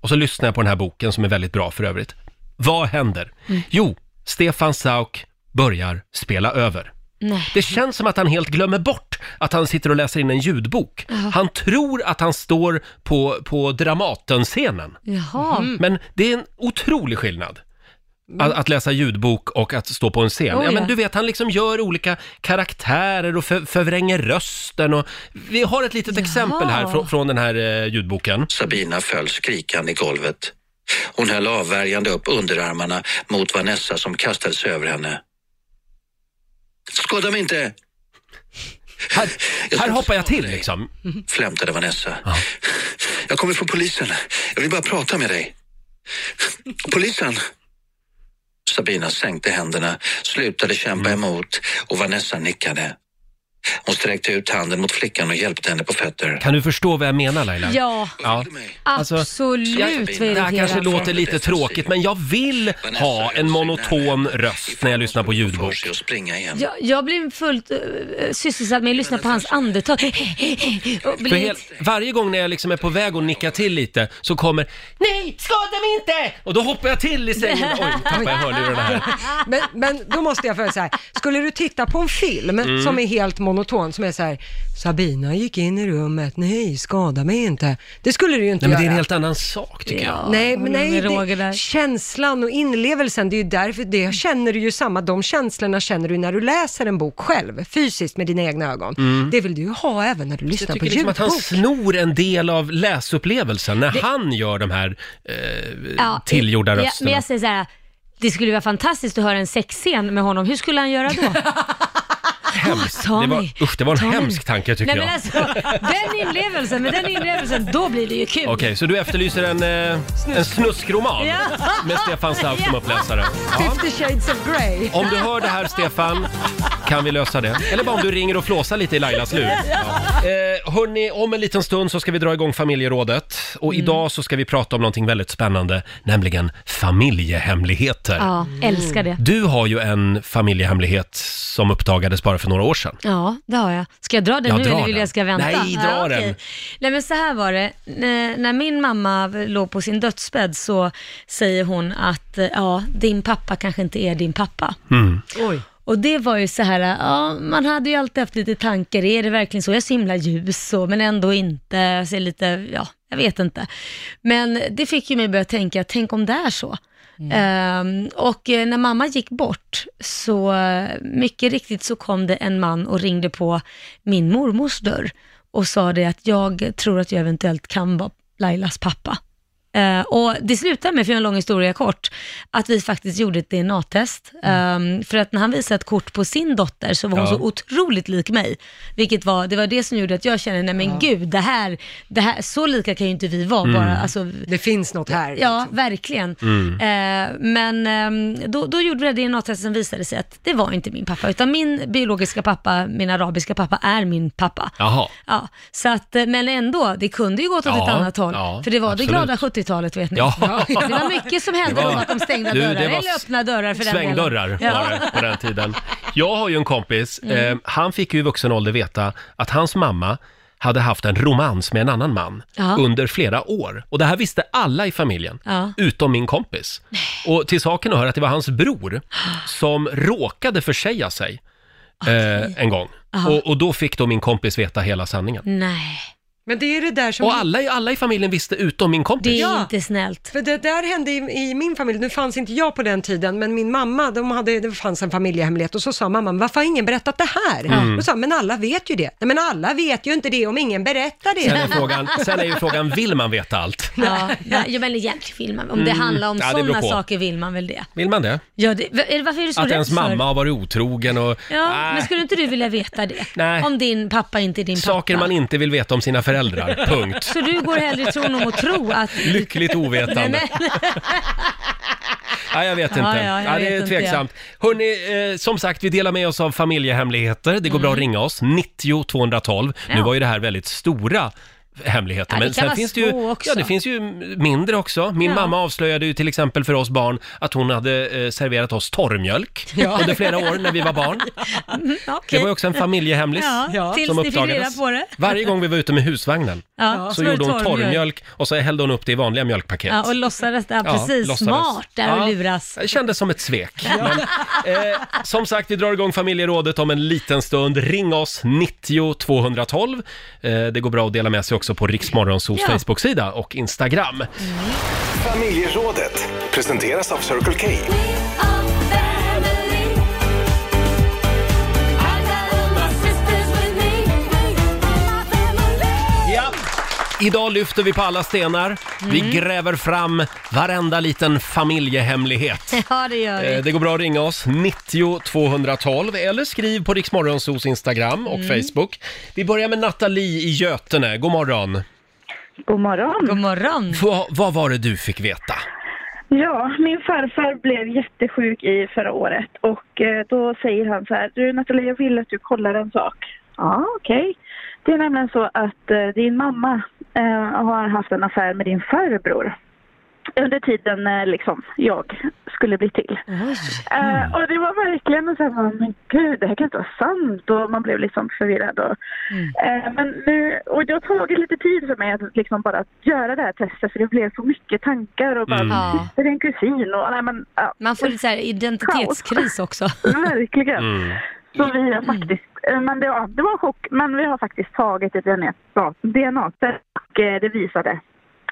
och så lyssnar jag på den här boken som är väldigt bra för övrigt. Vad händer? Jo, Stefan Sauk börjar spela över. Nej. Det känns som att han helt glömmer bort att han sitter och läser in en ljudbok. Ja. Han tror att han står på, på Dramaten-scenen. Jaha. Men det är en otrolig skillnad. Att, att läsa ljudbok och att stå på en scen. Oh, ja, men ja. du vet, han liksom gör olika karaktärer och för, förvränger rösten. Och... Vi har ett litet exempel här från, från den här eh, ljudboken. Sabina föll skrikande i golvet. Hon höll avvärjande upp underarmarna mot Vanessa som kastade sig över henne. Skåda mig inte! Här, här hoppar jag till liksom. Flämtade Vanessa. Jag kommer från polisen. Jag vill bara prata med dig. Polisen! Sabina sänkte händerna, slutade kämpa emot och Vanessa nickade. Hon sträckte ut handen mot flickan och hjälpte henne på fötter. Kan du förstå vad jag menar Laila? Ja, Ja. Alltså, absolut jag- vad Det här irriterande. kanske låter lite tråkigt, men jag vill ha en monoton röst när jag lyssnar på ljudbok. Jag, jag blir fullt eh, sysselsatt med att lyssna på hans andetag. Och För blir... hel, varje gång när jag liksom är på väg att nicka till lite så kommer Nej, skada mig inte! Och då hoppar jag till i sängen. Oj, tappade jag hörlurarna här. Men, men då måste jag fråga så här, skulle du titta på en film Mm. som är helt monoton, som är så här, Sabina gick in i rummet, nej, skada mig inte. Det skulle du ju inte Nej, men göra. det är en helt annan sak tycker jag. nej, men nej med Roger det, känslan och inlevelsen, det är ju därför, det känner du ju samma, de känslorna känner du när du läser en bok själv, fysiskt med dina egna ögon. Mm. Det vill du ju ha även när du Jag lyssnar tycker på liksom ljudbok. att han snor en del av läsupplevelsen när Det- han gör de här eh, Ja, tillgjorda jag- rösterna. Men jag säger så här, det skulle vara fantastiskt att höra en sexscen med honom. Hur skulle han göra då? Hemskt. ta Det var, mig. usch, det var en Ta mig. hemsk tanke tycker Nej men jag. alltså, den inlevelsen, med den inlevelsen, då blir det ju kul. Okej, så du efterlyser en, eh, en snuskroman Ja. med Stefan Sauk som Ja. Typ uppläsare? Ja. Fifty shades of Grey. Om du hör det här Stefan, kan vi lösa det? Eller bara om du ringer och flåsar lite i Lailas lur. Eh, hörni, om en liten stund så ska vi dra igång familjerådet. Och idag så ska vi prata om någonting väldigt spännande, nämligen familjehemligheter. Ja, älskar det. Du har ju en familjehemlighet som uppdagades bara för några år sedan. Ja, det har jag. Ska jag dra den Ja, nu dra eller vill den. jag ska vänta? Nej, dra ja, okej. den. Nej men så här var det, N- när min mamma låg på sin dödsbädd så säger hon att, eh, ja, din pappa kanske inte är din pappa. Oj. Och det var ju så här, ja, man hade ju alltid haft lite tankar, är det verkligen så? Jag är så himla ljus så, men ändå inte, jag ser lite, ja, jag vet inte. Men det fick ju mig börja tänka, tänk om det är så. Ehm, och eh, när mamma gick bort, så eh, mycket riktigt så kom det en man och ringde på min mormors dörr och sa det att jag tror att jag eventuellt kan vara Lailas pappa. Eh, och det slutade med, för att göra en lång historia kort, att vi faktiskt gjorde ett DNA-test. Mm. Eh, för att när han visade ett kort på sin dotter så var hon Ja. så otroligt lik mig. Vilket var, det var det som gjorde att jag kände, nej men gud, det här, det här, så lika kan ju inte vi vara Mm. bara. Alltså, det finns något här. Ja, verkligen. Mm. Eh, men ehm, då, då gjorde vi det DNA-test som visade sig att det var inte min pappa, utan min biologiska pappa, min arabiska pappa, är min pappa. Jaha. Ja, så att, eh, men ändå, det kunde ju gått åt Ja, ett annat håll. ja, för det var absolut. det glada 70-talet vet ni. Ja. Det var mycket som hände Det var- bakom stängda Du, det dörrar, var eller öppna dörrar för den delen. Svängdörrar var det på den tiden. Jag har ju en kompis, Mm. eh, han fick ju i vuxen ålder veta att hans mamma hade haft en romans med en annan man Ja. under flera år. Och det här visste alla i familjen, Ja. utom min kompis. Och till saken hör att det var hans bror som råkade försäga sig eh, en gång. Aha. Och, och då fick då min kompis veta hela sanningen. Nej. Men det är det där som... Mm. Och alla, i- alla i familjen visste utom min kompis. snällt. För det där hände i, i min familj, nu fanns inte jag på den tiden, men min mamma, de hade, det fanns en familjehemlighet och så sa mamman, varför har ingen berättat det här? Mm. Då sa jag, men alla vet ju det. Nej men alla vet ju inte det om ingen berättar det. Sen är, frågan, sen är ju frågan, vill man veta allt? Ja, ja, men egentligen vill man, om det Mm. handlar om Ja, det beror sådana på. saker vill man väl det. Vill man det? Ja, det va- är- varför är du så Att rädd ens för? mamma har varit otrogen och... Ja, Nej. men skulle inte du vilja veta det? Nej. Om din pappa inte är din Saker pappa. man inte vill veta om sina föräldrar, punkt. Så du går hellre i tron om att tro att... Lyckligt Nej, ovetande. men, Ja, jag vet Ja, inte. ja, jag Ja, det vet är inte, tveksamt. Hörrni, eh, som sagt, vi delar med oss av familjehemligheter. Det går bra att ringa oss, 90 212. Nu Mm. Ja. var ju det här väldigt stora hemligheter. Ja, det men kan sen vara finns det små ju, också. Ja, det finns ju mindre också. Min Ja. mamma avslöjade ju till exempel för oss barn att hon hade eh, serverat oss torrmjölk Ja. under flera år när vi var barn. mm, Det okej. var ju också en familjehemlis Ja, ja. tills som ni fick reda uppdagades. på det. Varje gång vi var ute med husvagnen Ja, så var det gjorde hon torrmjölk. torrmjölk och så hällde hon upp det i vanliga mjölkpaket. Ja, och låtsades det. Ja, Ja, precis. låtsades. Smart där Ja. och luras. Det kändes som ett svek. Men, eh, som sagt, vi drar igång familjerådet om en liten stund. Ring oss, 90 212. Eh, det går bra att dela med sig också på Riksmorgonsos Ja. Facebook-sida och Instagram. Familjerådet presenteras av Circle K. Ja. Idag lyfter vi på alla stenar. Vi Mm. gräver fram varenda liten familjehemlighet. Ja, det gör vi. Eh, Det går bra att ringa oss, 90 212 eller skriv på Riksmorgonsos Instagram och Mm. Facebook. Vi börjar med Nathalie i Götene. God morgon. God morgon. God morgon. Va, vad var det du fick veta? Ja, min farfar blev jättesjuk i förra året och eh, då säger han så här, du Nathalie jag vill att du kollar en sak. Ja, okej. Det är nämligen så att eh, din mamma eh, har haft en affär med din farbror under tiden eh, liksom jag skulle bli till. Eh, och det var verkligen så här, man, men gud det här kan inte vara sant och man blev liksom förvirrad. Och, eh, men nu, och det har tagit lite tid för mig att liksom bara göra det här testet för det blev så mycket tankar och bara, Mm. Ja. "Visst är det en kusin och nej men ja. Man får lite så här identitetskris också. Verkligen. Mm. Så vi har faktiskt, eh, men det, ja, det var en chock, men vi har faktiskt tagit ett DNA DNA -test och eh, det visade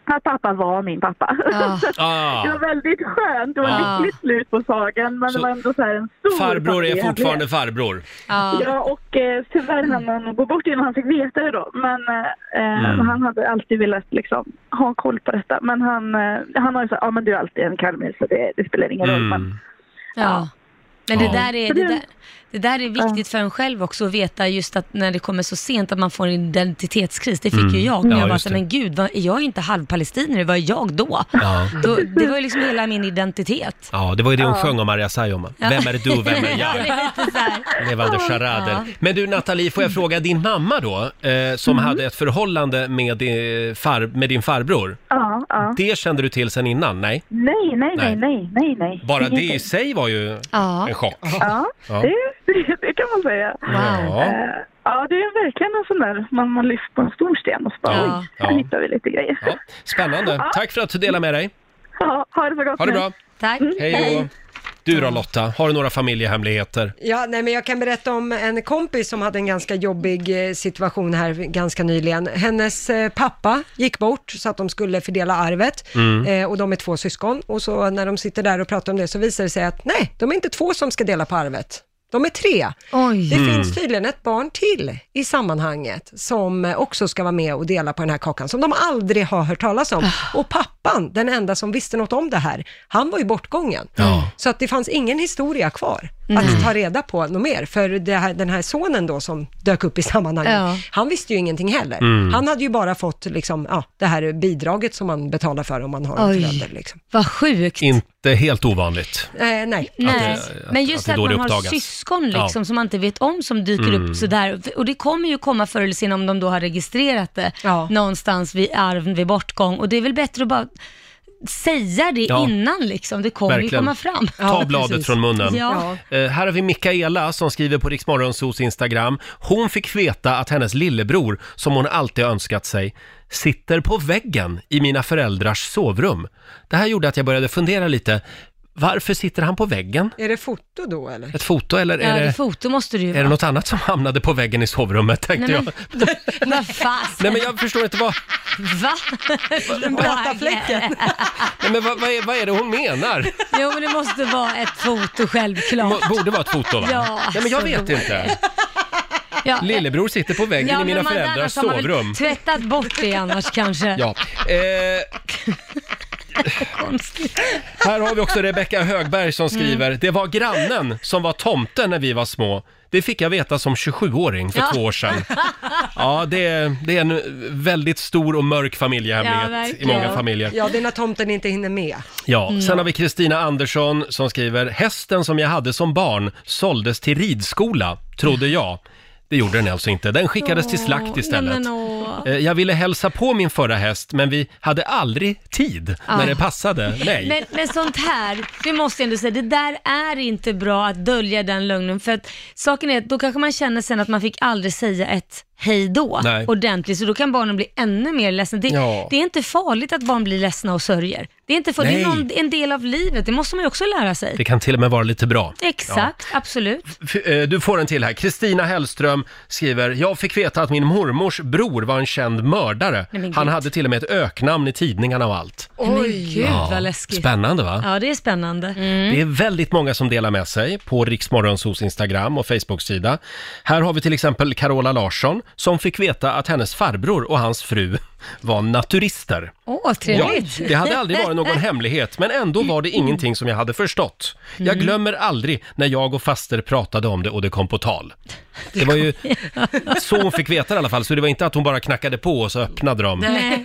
att pappa var min pappa. Ah. Så Ah. Det var väldigt skönt, det var Ah. lyckligt slut på sagan men Så det var ändå så här en stor Farbror är familj. fortfarande farbror. Ja, och eh, tyvärr hann han gå bort innan han fick veta det då. Men eh, Mm. han hade alltid velat liksom, ha koll på detta. Men han, eh, han har ju sagt, ja men du är alltid en kalmir så det, det spelar ingen Mm. roll. Men, Ja. Men det Ja. där, är, Så det, det- där, det där är viktigt för en själv också att veta just att när det kommer så sent att man får en identitetskris. Det fick Mm. ju jag. När Ja, jag bara just så, det. men gud, vad, är jag inte halvpalestinier? Vad är jag då? Ja. då? Det var ju liksom hela min identitet. Ja, det var ju det hon Ja. sjöng om Maria Saijonmaa. Ja. Vem är du, vem är Ja, det jag? är lite så här. Levande Ja. charader. Ja. Men du Nathalie, får jag fråga din mamma då, eh, som hade ett förhållande med, eh, far, med din farbror? ja, ja. Det kände du till sen innan, nej? Nej, nej, nej, Nej. nej, nej, nej. Bara det Ingenting. i sig var ju Ja. en chock. Ja, Ja. det, det, det kan man säga. Ja. Eh, ja, det är verkligen en sån där, man, man lyfter på en stor sten och så bara, Ja. oj, Ja. här hittar vi lite grejer. Ja. Spännande. Tack för att du delade med dig. Ja, ha det så gott Ha det nu. bra. Tack. Hej då. Du då Lotta, har du några familjehemligheter? Ja, nej, men jag kan berätta om en kompis som hade en ganska jobbig eh, situation här ganska nyligen. Hennes eh, pappa gick bort så att de skulle fördela arvet Mm. eh, och de är två syskon. Och så när de sitter där och pratar om det så visar det sig att nej, de är inte två som ska dela på arvet. De är tre. Det Mm. finns tydligen ett barn till i sammanhanget som eh, också ska vara med och dela på den här kakan som de aldrig har hört talas om. Ah. Och pappan, den enda som visste något om det här, han var ju bortgången. Så att det fanns ingen historia kvar Nej. att ta reda på något mer. För det här, den här sonen då som dök upp i sammanhanget, Ja. han visste ju ingenting heller. Mm. Han hade ju bara fått liksom, ja, det här bidraget som man betalar för om man har en Oj. förälder. Liksom. Vad sjukt. Inte helt ovanligt. Eh, nej. Nej, att- men just att det att, då man det har uppdagas. syskon liksom, Ja. som man inte vet om som dyker Mm. upp sådär. Och det kommer ju komma förr eller senare om de då har registrerat det någonstans vid arv, vid bortgång. Och det är väl bättre att bara säga det Ja. innan liksom. Det kommer ju komma fram. Ta bladet från munnen. Ja. Eh, här har vi Mikaela som skriver på Riksmorgonsos Instagram. Hon fick veta att hennes lillebror, som hon alltid önskat sig, sitter på väggen i mina föräldrars sovrum. Det här gjorde att jag började fundera lite. Varför sitter han på väggen? Är det foto då eller? Ett foto eller Ja, är, det det, foto måste du ju är det något annat som hamnade på väggen i sovrummet tänkte Nej, jag. men, Vad fasen? Nej men jag förstår inte vad, Va? Den blöta fläcken. nej, men vad, vad, är, vad är det hon menar? Jo, men det måste vara ett foto självklart. Det borde vara ett foto va? Ja, nej, men jag så vet borde inte. Ja, Lillebror sitter på väggen i men mina man- föräldrars annars har man väl sovrum. Tvättat bort det annars kanske. Ja. Eh, här har vi också Rebecka Högberg Mm. som skriver, det var grannen som var tomten när vi var små. Det fick jag veta som 27-åring för Ja. två år sedan. Ja, det är, det är en väldigt stor och mörk familjehemlighet i verkligen. många familjer. Ja, det är när tomten inte hinner med. Ja, Mm. sen har vi Kristina Andersson som skriver “Hästen som jag hade som barn såldes till ridskola, trodde jag. Det gjorde den alltså inte. Den skickades till slakt istället. Nej, men, åh. Eh, Jag ville hälsa på min förra häst, men vi hade aldrig tid när Ah. det passade. Nej. Men, men sånt här, det måste jag ändå säga, det där är inte bra att dölja den lögnen. För att saken är att då kanske man känner sen att man fick aldrig säga ett hej då Nej. ordentligt, så då kan barnen bli ännu mer ledsna. Det, Ja. det är inte farligt att barn blir ledsna och sörjer. Det är inte farligt, det är Nej. någon, en del av livet, det måste man ju också lära sig. Det kan till och med vara lite bra. Exakt, absolut. F- eh, Du får en till här. Kristina Hellström skriver, jag fick veta att min mormors bror var en känd mördare. Nej, men Han gud. hade till och med ett öknamn i tidningarna och allt. Men gud Ja, vad läskigt. Spännande va? Ja, det är spännande. Mm. Det är väldigt många som delar med sig på Riksmorgonsos Instagram och Facebook-sida. Här har vi till exempel Carola Larsson som fick veta att hennes farbror och hans fru var naturister. Åh, trevligt. Ja, det hade aldrig varit någon hemlighet, men ändå var det ingenting som jag hade förstått. Mm. Jag glömmer aldrig när jag och faster pratade om det och det kom på tal. Det var ju så hon fick veta i alla fall, så det var inte att hon bara knackade på och så öppnade de. Nej,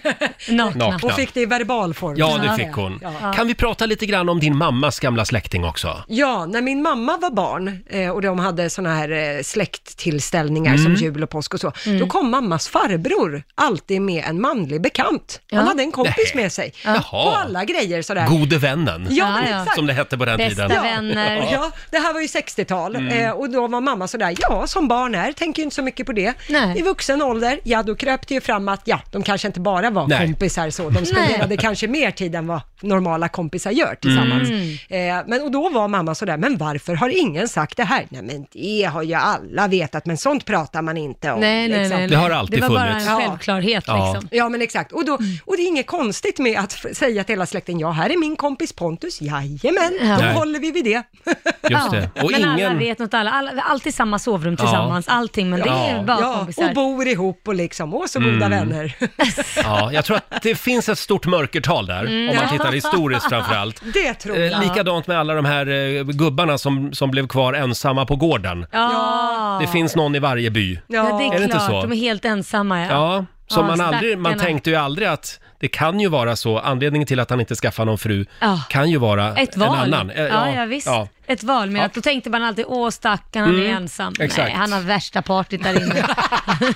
nakna. Nakna. Hon fick det i verbal form. Ja, det fick hon. Ja. Kan vi prata lite grann om din mammas gamla släkting också? Ja, när min mamma var barn eh, och de hade såna här eh, släkttillställningar Mm. som jul och påsk och så, då kom mammas farbror alltid med en manlig bekant. Ja. Han hade en kompis Nej. med sig Jaha. på alla grejer sådär. Gode vännen, Ja, men exakt. som det hette på den tiden. Ja. ja, det här var ju 60-tal Mm. eh, och då var mamma sådär, ja som barn är, tänker ju inte så mycket på det. I vuxen ålder, ja då kröp det ju fram att ja, de kanske inte bara var Nej. kompisar så, de spenderade kanske mer tid än vad normala kompisar gör tillsammans. Mm. Eh, men, och då var mamma sådär, men varför har ingen sagt det här? Nej men det har ju alla vetat, men sånt pratar man inte om. Nej, nej, nej, nej. Det har alltid Det var bara funnits. en Ja. självklarhet, ja. liksom. Ja, men exakt. Och, då, Mm. och det är inget konstigt med att f- säga till hela släkten, ja här är min kompis Pontus, jajamän, Ja. då Nej. håller vi vid det. Just det. Och men alla ingen- vet något, alla, alla, alltid samma sovrum Ja. tillsammans, allting, men det är bara kompisar. och bor ihop och liksom, och så goda Mm. vänner. Ja, jag tror att det finns ett stort mörkertal där, Mm. om man Ja. tittar historiskt framförallt. Det tror jag. Eh, likadant med alla de här eh, gubbarna som, som blev kvar ensamma på gården. Ja. Det finns någon i varje by. Ja, det är, Är det inte klart. så? De är helt ensamma. Ja. Ja, som man aldrig, man stackarna. tänkte ju aldrig att det kan ju vara så, anledningen till att han inte skaffar någon fru Ja. kan ju vara Ett val. en annan. Eh, ja, ja, visst. ja. Ett val, men att då tänkte man alltid, åh stackarn, han är Mm, ensam. exakt. Nej, han har värsta partyt där inne.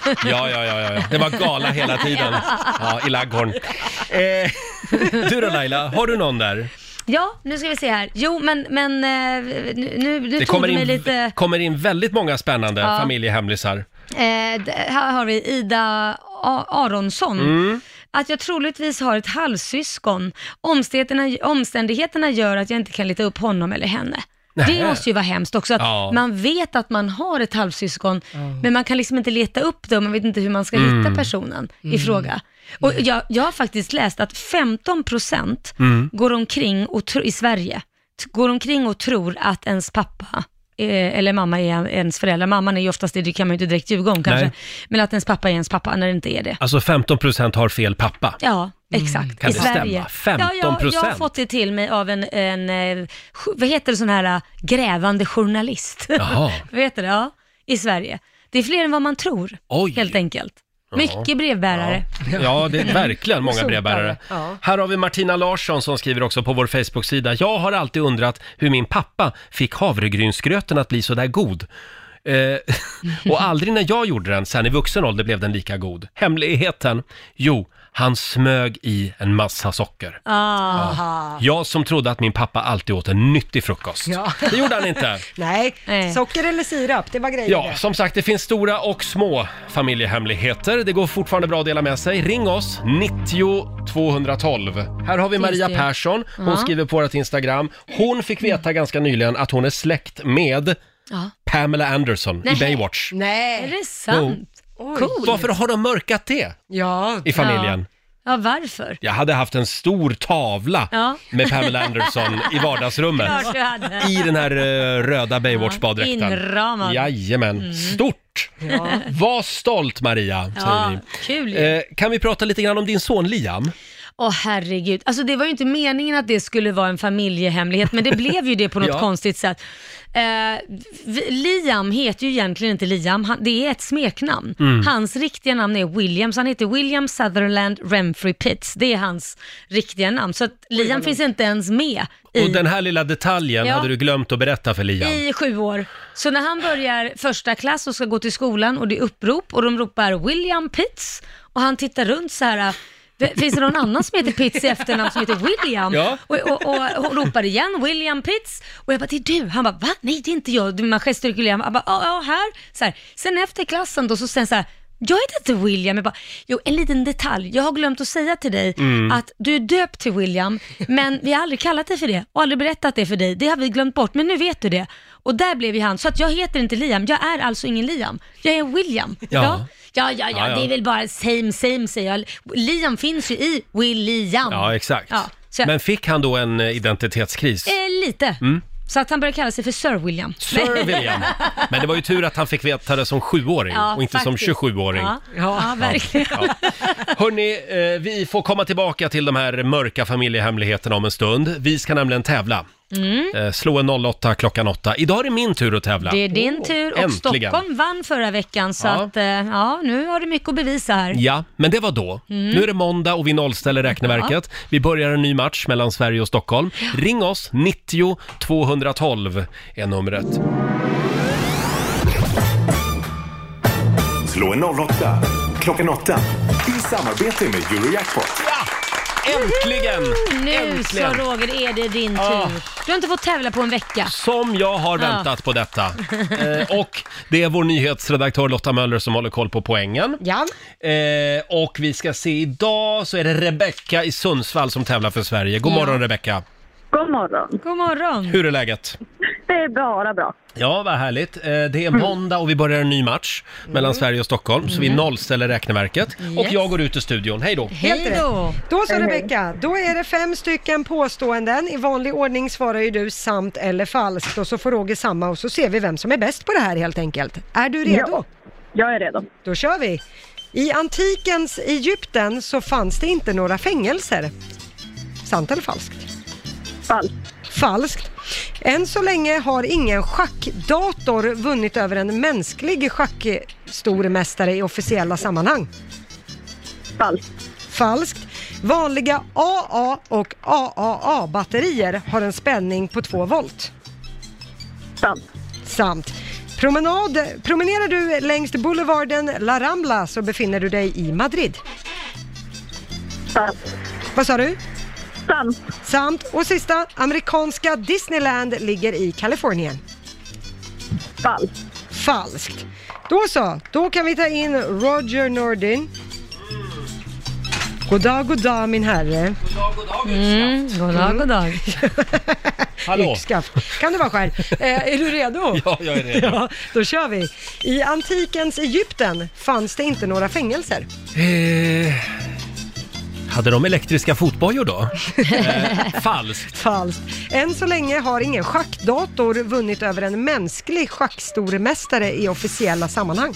Ja, ja, ja, ja, ja. Det var gala hela tiden ja, i Laggorn. Eh, du då Laila, har du någon där? ja, nu ska vi se här. Jo, men, men eh, nu, nu, nu Det tog kommer du mig in, lite... kommer in väldigt många spännande Ja. familjehemlisar. Eh, d- här har vi Ida A- Aronsson. Mm. Att jag troligtvis har ett halvsyskon. Omständigheterna, omständigheterna gör att jag inte kan leta upp honom eller henne. Nähä. Det måste ju vara hemskt också, att Ja. man vet att man har ett halvsyskon, men man kan liksom inte leta upp det och man vet inte hur man ska Mm. hitta personen i Mm. fråga. Och jag, jag har faktiskt läst att 15 procent Mm. går omkring och tro, i Sverige, t- går omkring och tror att ens pappa eh, eller mamma är ens föräldrar. Mamman är ju oftast det, det kan man ju inte direkt ljuga om kanske. Nej. Men att ens pappa är ens pappa när det inte är det. Alltså 15% har fel pappa. Ja, exakt. Kan I det Sverige. stämma? Ja, jag, jag har 15%. fått det till mig av en, en eh, jo- vad heter det, sån här eh, grävande journalist. Jaha. vad heter det? Ja, i Sverige. Det är fler än vad man tror, helt enkelt. Ja. Mycket brevbärare. Ja, det är verkligen många Sotare. brevbärare. Ja. Här har vi Martina Larsson som skriver också på vår Facebook-sida. Jag har alltid undrat hur min pappa fick havregrynsgröten att bli så där god. Eh, och aldrig när jag gjorde den, sen i vuxen ålder blev den lika god. Hemligheten? Jo, Han smög i en massa socker. Aha. Jag som trodde att min pappa alltid åt en nyttig frukost. Det gjorde han inte. Nej. socker eller sirap, det var grejen Ja, det. som sagt, det finns stora och små familjehemligheter. Det går fortfarande bra att dela med sig. Ring oss, 90 212. Här har vi Finns Maria det. Persson. Hon Ja. skriver på vårt Instagram. Hon fick veta ganska nyligen att hon är släkt med Ja. Pamela Anderson i Baywatch. Oh. Nej. Är det sant? Coolt. Varför har de mörkat det ja. i familjen? Ja, varför? Jag hade haft en stor tavla Ja. med Pamela Anderson i vardagsrummet. Klart du hade. I den här eh, röda Baywatch-baddräkten. Inramad. Mm. Jajamän. Stort! Var stolt Maria, säger Ja, vi. kul ju. Eh, kan vi prata lite grann om din son Liam? Åh herregud, alltså det var ju inte meningen att det skulle vara en familjehemlighet, men det blev ju det på något Ja. konstigt sätt. Eh, vi- Liam heter ju egentligen inte Liam, han, det är ett smeknamn. Mm. Hans riktiga namn är Williams, han heter William Sutherland Renfrew Pitts, det är hans riktiga namn. Så att Liam finns inte ens med i, Och den här lilla detaljen Ja. hade du glömt att berätta för Liam. i sju år. Så när han börjar första klass och ska gå till skolan och det är upprop och de ropar William Pitts och han tittar runt så här, "V- finns det någon annan som heter Pitts i efternamn som heter William? Ja. Och, och, och, och ropar igen, William Pitts. Och jag bara, det är du. Han bara, va? Nej, det är inte jag. Man gestikulerar. Han bara, ja, ja, här. Så här. Sen efter klassen då, så sen så här, jag heter inte William. Jag bara, jo, en liten detalj. Jag har glömt att säga till dig Mm. att du är döpt till William, men vi har aldrig kallat dig för det och aldrig berättat det för dig. Det har vi glömt bort, men nu vet du det. Och där blev ju han, så att jag heter inte Liam. Jag är alltså ingen Liam. Jag är William. Ja. Ja, ja, ja, ja, Ja, ja. det är väl bara same, same säger jag. Liam finns ju i William. Ja, exakt. Ja, så jag- Men fick han då en eh, identitetskris? Eh, lite. Mm. Så att han började kalla sig för Sir William. Sir William. Men det var ju tur att han fick veta det som sjuåring Ja, Mm, och inte faktiskt. som 27-åring. Ja, ja, verkligen. Hörni, eh, vi får komma tillbaka till de här mörka familjehemligheterna om en stund. Vi ska nämligen tävla. Mm. Eh, slå en 08 klockan 8. Idag är det min tur att tävla. Det är din tur och Äntligen. Stockholm vann förra veckan så Ja. att eh, ja, nu har du mycket att bevisa här. Ja, men det var då. Mm. Nu är det måndag och vi nollställer räkneverket. Vi börjar en ny match mellan Sverige och Stockholm. Ring oss, 90 212 är numret. Slå en 08 klockan 8 i samarbete med Eurojackpot. Äntligen! Nu Äntligen! så Roger är det din Ah. tur. Du har inte fått tävla på en vecka. Som jag har Ja. väntat på detta. Eh, och det är vår nyhetsredaktör Lotta Möller som håller koll på poängen. Ja. Eh, och vi ska se, idag så är det Rebecka i Sundsvall som tävlar för Sverige. God Ja. morgon Rebecka! God morgon. God morgon. Hur är läget? Det är bara bra. Ja, vad härligt. Eh, Det är måndag och vi börjar en ny match mellan Sverige och Stockholm, så vi nollställer räkneverket. Och Yes. jag går ut ur studion. Hej då! Helt rätt. Då så Hej, hej. Rebecka, då är det fem stycken påståenden. I vanlig ordning svarar ju du sant eller falskt och så får Roger samma och så ser vi vem som är bäst på det här helt enkelt. Är du redo? Ja, jag är redo. Då kör vi! I antikens Egypten så fanns det inte några fängelser. Sant eller falskt? Falskt. Falskt. Än så länge har ingen schackdator vunnit över en mänsklig schackstormästare i officiella sammanhang. Falskt. Falskt. Vanliga AA och AAA-batterier har en spänning på 2 volt. Sant. Sant. Promenad, promenerar du längs boulevarden La Rambla så befinner du dig i Madrid. Sant. Vad sa du? Sant. Sant. Och sista, amerikanska Disneyland ligger i Kalifornien. Falskt. Falskt. Då så, då kan vi ta in Roger Nordin. God dag, god dag min herre. Mm, god dag, god dag. Hallå. Yxskaft. Kan du vara själv? Eh, är du redo? Ja, jag är redo. Ja, då kör vi. I antikens Egypten fanns det inte några fängelser. Eh, hade de elektriska fotbojor då? Eh, falskt. Falskt. Än så länge har ingen schackdator vunnit över en mänsklig schackstormästare i officiella sammanhang.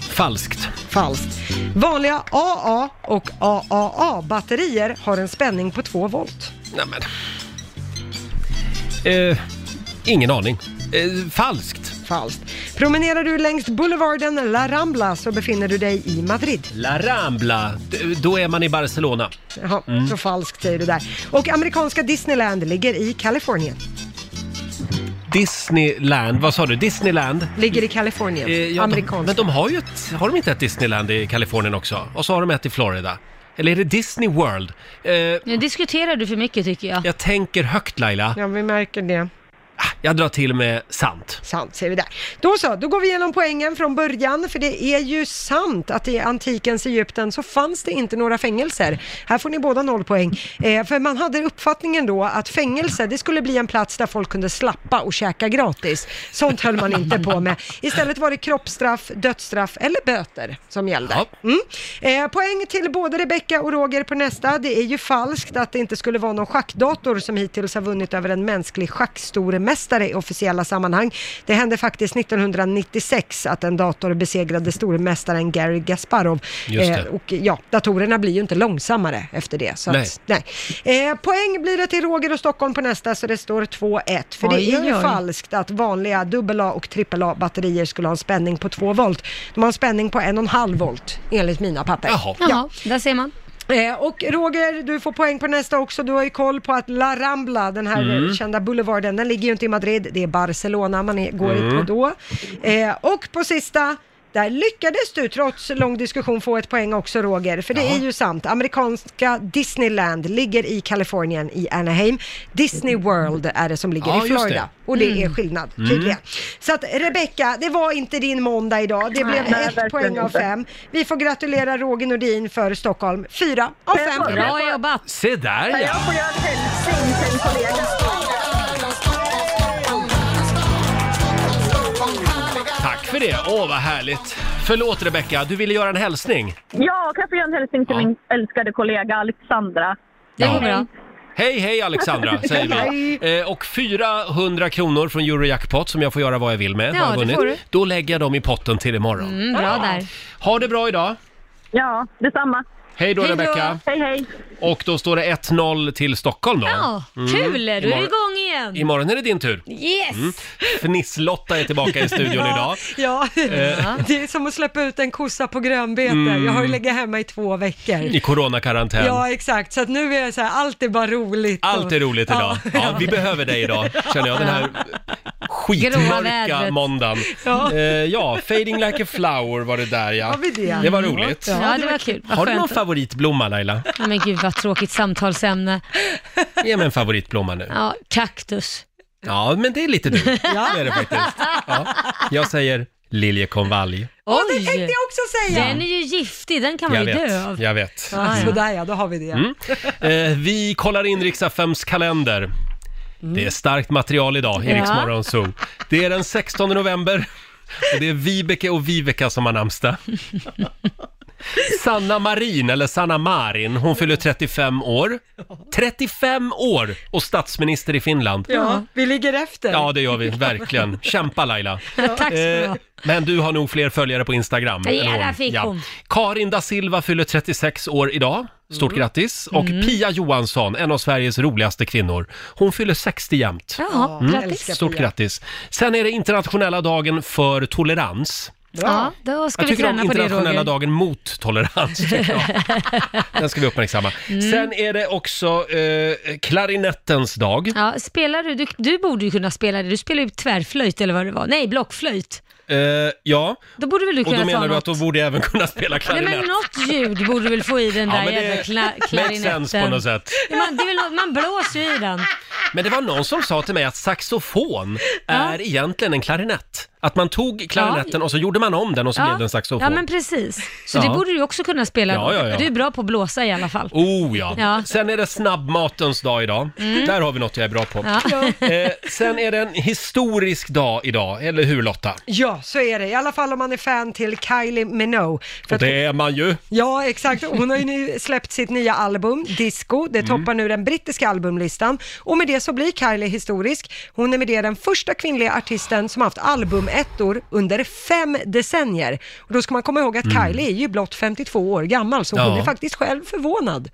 Falskt. Falskt. Vanliga AA och AAA-batterier har en spänning på 2 volt. Nämen. Eh, ingen aning. Eh, falskt. Falskt. Promenerar du längs boulevarden La Rambla så befinner du dig i Madrid. La Rambla, D- då är man i Barcelona. Jaha, Mm. så falskt säger du där. Och amerikanska Disneyland ligger i Kalifornien. Disneyland, vad sa du? Disneyland? Ligger i Kalifornien. Eh, ja, de, Amerikanskt. men de har ju ett, har de inte ett Disneyland i Kalifornien också? Och så har de ett i Florida. Eller är det Disney World? Eh, Nu diskuterar du för mycket tycker jag. jag tänker högt Laila. Ah, Ja, vi märker det. Jag drar till med sant. Sant säger vi där. Då så, då går vi igenom poängen från början, för det är ju sant att i antikens Egypten så fanns det inte några fängelser. Här får ni båda noll poäng. Eh, för man hade uppfattningen då att fängelse, det skulle bli en plats där folk kunde slappa och käka gratis. Sånt höll man inte på med. Istället var det kroppsstraff, dödsstraff eller böter som gällde. Mm. Eh, poäng till både Rebecca och Roger på nästa. Det är ju falskt att det inte skulle vara någon schackdator som hittills har vunnit över en mänsklig schackstoremästare i officiella sammanhang. Det hände faktiskt 1996 att en dator besegrade stormästaren Gary Gasparov. Eh, Just det. och ja, datorerna blir ju inte långsammare efter det. Så Nej. Att, nej. Eh, poäng blir det till Roger och Stockholm på nästa, så det står 2-1. För Oj, det är oj, ju oj. falskt falskt att vanliga AA och AAA batterier skulle ha en spänning på 2 volt. De har en spänning på 1,5 volt enligt mina papper. Jaha. Jaha, där ser man. Eh, Och Roger, du får poäng på nästa också. Du har ju koll på att La Rambla, den här Mm. eh, kända boulevarden, den ligger ju inte i Madrid, det är Barcelona man är, går Mm. på då. Eh, och på sista, där lyckades du trots lång diskussion få ett poäng också Roger, för det är ju sant. Amerikanska Disneyland ligger i Kalifornien i Anaheim. Disney World är det som ligger Ja, i just det. Florida. Och det är Mm. skillnad Mm. tydligen. Så att Rebecca, det var inte din måndag idag. Det blev Nej, verkligen ett poäng av inte. fem. Vi får gratulera Roger Nordin för Stockholm. Fyra av fem. Bra jobbat! Se där ja! får göra en hälsning till en kollega. Tack för det. Åh, vad härligt. Förlåt Rebecca, du ville göra en hälsning. Ja, kan jag få göra en hälsning till min älskade kollega Alexandra? Det går bra. Hej, hej Alexandra, säger vi. Eh, och 400 kronor från Eurojackpot som jag får göra vad jag vill med. Ja, har jag det får du. Då lägger jag dem i potten till imorgon. Mm, bra där. Ha det bra idag. Ja, detsamma. Hej då Hej då. Rebecca. Hej, hej. Och då står det 1-0 till Stockholm då. Ja, Mm. kul! Då är du Imorgon- igång igen. Imorgon är det din tur. Yes! Mm. Fnisslotta är tillbaka i studion Ja, idag. Ja, Eh. det är som att släppa ut en kossa på grönbete. Mm. Jag har ju legat hemma i två veckor. I coronakarantän. Ja, exakt. Så att nu är jag så här, allt är bara roligt. Allt är roligt idag. Ja, Ja, vi behöver dig idag, känner jag. Den här Gråa skitmörka vädret. måndagen. Ja. Ja. ja, Fading Like a Flower var det där ja. Har vi det? Det var roligt. Ja, det var kul. Vad Har du någon skönt. favoritblomma Laila? Ja, men gud vad tråkigt samtalsämne. Ge mig en favoritblomma nu. Ja, kaktus. Ja, men det är lite du. Ja. Det är det faktiskt. Ja. Jag säger liljekonvalj. Oj! Det tänkte jag också säga. Den är ju giftig, den kan man Jag ju dö vet, av. jag vet. Ja, ja. Sådär ja, då har vi det. Mm. Eh, vi kollar in Rix FMs kalender. Mm. Det är starkt material idag i Ja. Rix Morgon Zoo. Det är den 16 november och det är Vibeke och Viveka som har namnsdag. Sanna Marin, eller Sanna Marin, hon fyller 35 år. 35 år och statsminister i Finland. Ja, vi ligger efter. Ja, det gör vi, verkligen. Kämpa Laila. Tack ska du Eh, ha. Men du har nog fler följare på Instagram. Ja, än hon. där fick hon. Karin da Silva fyller 36 år idag. Stort Mm. grattis! Och Pia Johansson, en av Sveriges roligaste kvinnor. Hon fyller 60 jämt. Ja, grattis. Älskar mm. Stort Pia. grattis! Sen är det internationella dagen för tolerans. Ja, då ska Jag vi tycker om träna på det internationella Roger. dagen mot tolerans. tycker jag. Den ska vi uppmärksamma. Mm. Sen är det också eh, klarinettens dag. Ja, spelar du, du, du borde ju kunna spela det. Du spelar ju tvärflöjt eller vad det var. Nej, blockflöjt. Eh, ja, Då borde väl du och kunna då ta menar du något. att då borde jag även kunna spela Nej klarinett? men något ljud borde du väl få i den Ja, där men det jävla kla- makes klarinetten. sense på något sätt. Man, det är väl något, man blåser ju i den. Men det var någon som sa till mig att saxofon är egentligen en klarinett. Att man tog klarinetten och så gjorde man om den och så blev det en saxofon. ja men precis. Så Ja. det borde du också kunna spela Ja, då. ja, ja. Du är bra på att blåsa i alla fall. Oh ja. Ja. Sen är det snabbmatens dag idag. Mm. Där har vi något jag är bra på. Ja. Eh, sen är det en historisk dag idag, eller hur Lotta? Ja, så är det. I alla fall om man är fan till Kylie Minogue. För Och att det är man ju. Ja, exakt. Hon har ju nu släppt sitt nya album, Disco. Mm. Det toppar nu den brittiska albumlistan. Och med det så blir Kylie historisk. Hon är med det den första kvinnliga artisten som haft albumettor under fem decennier. Och då ska man komma ihåg att Mm. Kylie är ju blott 52 år gammal, så hon Ja. är faktiskt själv förvånad.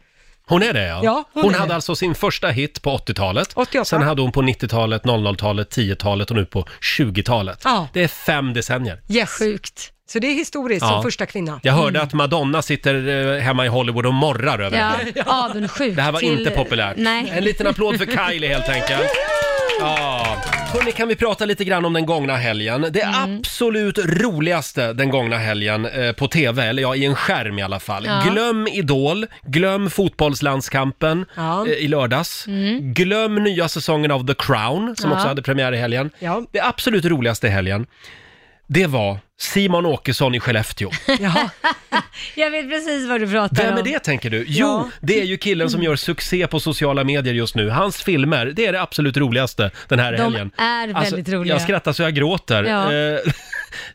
Hon är det ja. Ja, hon hon är hade det. alltså sin första hit på 80-talet. Sen hade hon på 90-talet, 00-talet, 10-talet och nu på 20-talet. Ja. Det är fem decennier. Yes. Sjukt. Så det är historiskt Ja. som första kvinna. Jag hörde att Madonna sitter eh, hemma i Hollywood och morrar över Mm. Ja, henne. avundsjuk Det här var till- inte populärt. Nej. En liten applåd för Kylie helt enkelt. Ja. Hörrni, kan vi prata lite grann om den gångna helgen? Det Mm. absolut roligaste den gångna helgen eh, på TV, eller ja, i en skärm i alla fall. Ja. Glöm Idol, glöm fotbollslandskampen Ja. eh, i lördags. Mm. Glöm nya säsongen av The Crown, som Ja. också hade premiär i helgen. Ja. Det absolut roligaste i helgen, det var Simon Åkesson i Skellefteå. Jag vet precis vad du pratar om. Vem är det tänker du? Jo, Ja. Mm. det är ju killen som gör succé på sociala medier just nu. Hans filmer, det är det absolut roligaste den här De helgen. Alltså, är väldigt roliga. Jag skrattar så jag gråter. Ja. Eh,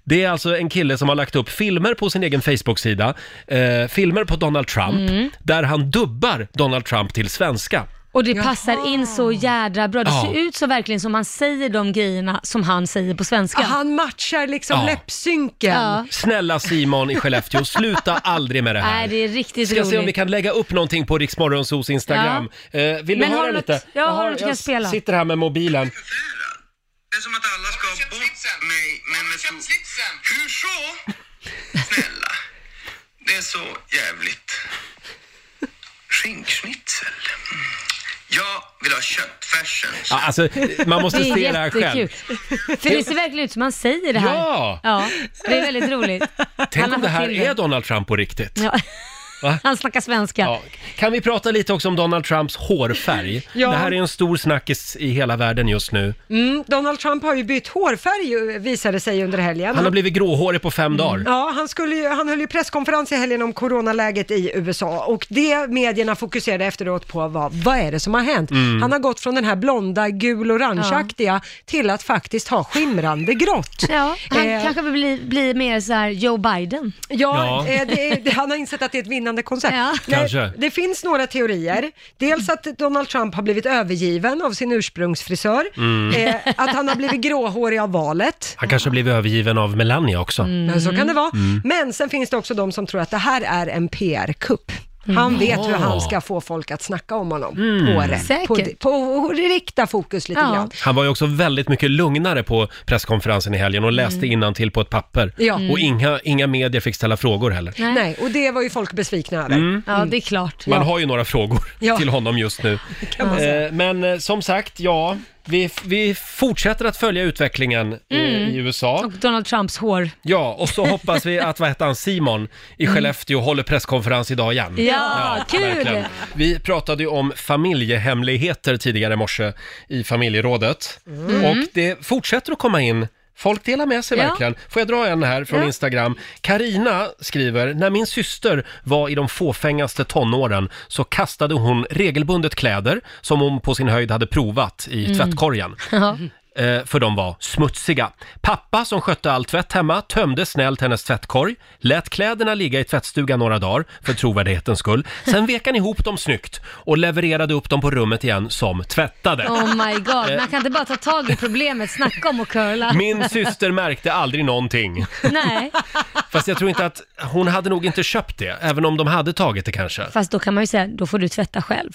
Det är alltså en kille som har lagt upp filmer på sin egen Facebook-sida, eh, filmer på Donald Trump, Mm. där han dubbar Donald Trump till svenska. Och det passar in så jädra bra. Det Ja. ser ut så verkligen som han säger de grejerna som han säger på svenska. Han matchar liksom Ja. läppsynken. Ja. Snälla Simon i Skellefteå, sluta aldrig med det här. Nej, det är riktigt Ska se om roligt. vi kan lägga upp någonting på Riksmorgonsos Instagram. Eh, vill du Men har höra du något- lite? Ja, har du något jag du kan spela? sitter här med mobilen. Nej, men med så... Hur så? Snälla, det är så jävligt. Skinkschnitzel. Mm. Jag vill ha köttfärsen. Ja, alltså, man måste det är se det här själv. jättekul. För det ser verkligen ut som han säger det här. Ja. ja det är väldigt roligt. Tänk har om det fått här till det. Mm. är Donald Trump på riktigt. Ja. Va? Han snackar svenska. Kan vi prata lite också om Donald Trumps hårfärg? Ja. Det här är en stor snackis i hela världen just nu. Mm, Donald Trump har ju bytt hårfärg visade sig under helgen. Han har blivit gråhårig på Mm. fem dagar. Ja, han, skulle ju, han höll ju presskonferens i helgen om coronaläget i USA och det medierna fokuserade efteråt på var vad är det som har hänt? Mm. Han har gått från den här blonda, gul-orangeaktiga till att faktiskt ha skimrande grått. Ja, han Eh, kanske vill bli, bli mer så här Joe Biden. Ja, Ja. eh, det, är- det, han har insett att det är ett vinnande koncept. Nej, Kanske. Det finns några teorier. Dels att Donald Trump har blivit övergiven av sin ursprungsfrisör. Mm. Eh, att han har blivit gråhårig av valet. Han kanske har blivit övergiven av Melania också. Ja, Så kan det vara. Mm. Men sen finns det också de som tror att det här är en PR-kupp. Han Mm. vet Ja. hur han ska få folk att snacka om honom. Mm. På, det, på, det, Säkert. på, på rikta fokus lite Ja. grann. Han var ju också väldigt mycket lugnare på presskonferensen i helgen och läste Mm. innantill till på ett papper. Ja. Och inga, inga medier fick ställa frågor heller. Nej. och det var ju folk besvikna över. Mm. Ja, det är klart. Man har ju några frågor Ja. till honom just nu. kan man säga. Eh, Men eh, som sagt, ja, vi, vi fortsätter att följa utvecklingen eh, Mm. i USA. Och Donald Trumps hår. Ja, och så hoppas vi att, vad heter han, Simon i Mm. Skellefteå håller presskonferens idag igen. Ja, kul! Vi pratade ju om familjehemligheter tidigare i morse i familjerådet. Mm. Och det fortsätter att komma in Folk delar med sig Ja. verkligen. Får jag dra en här från Ja. Instagram? Karina skriver, när min syster var i de fåfängaste tonåren så kastade hon regelbundet kläder som hon på sin höjd hade provat i Mm. tvättkorgen. Ja. Eh, för de var smutsiga. Pappa som skötte all tvätt hemma tömde snällt hennes tvättkorg, lät kläderna ligga i tvättstugan några dagar för trovärdighetens skull. Sen vek han ihop dem snyggt och levererade upp dem på rummet igen som tvättade. Oh my god, Eh. man kan inte bara ta tag i problemet, snacka om att curla. Min syster märkte aldrig någonting. Nej, Fast jag tror inte att hon hade nog inte köpt det, även om de hade tagit det kanske. fast då kan man ju säga, då får du tvätta själv.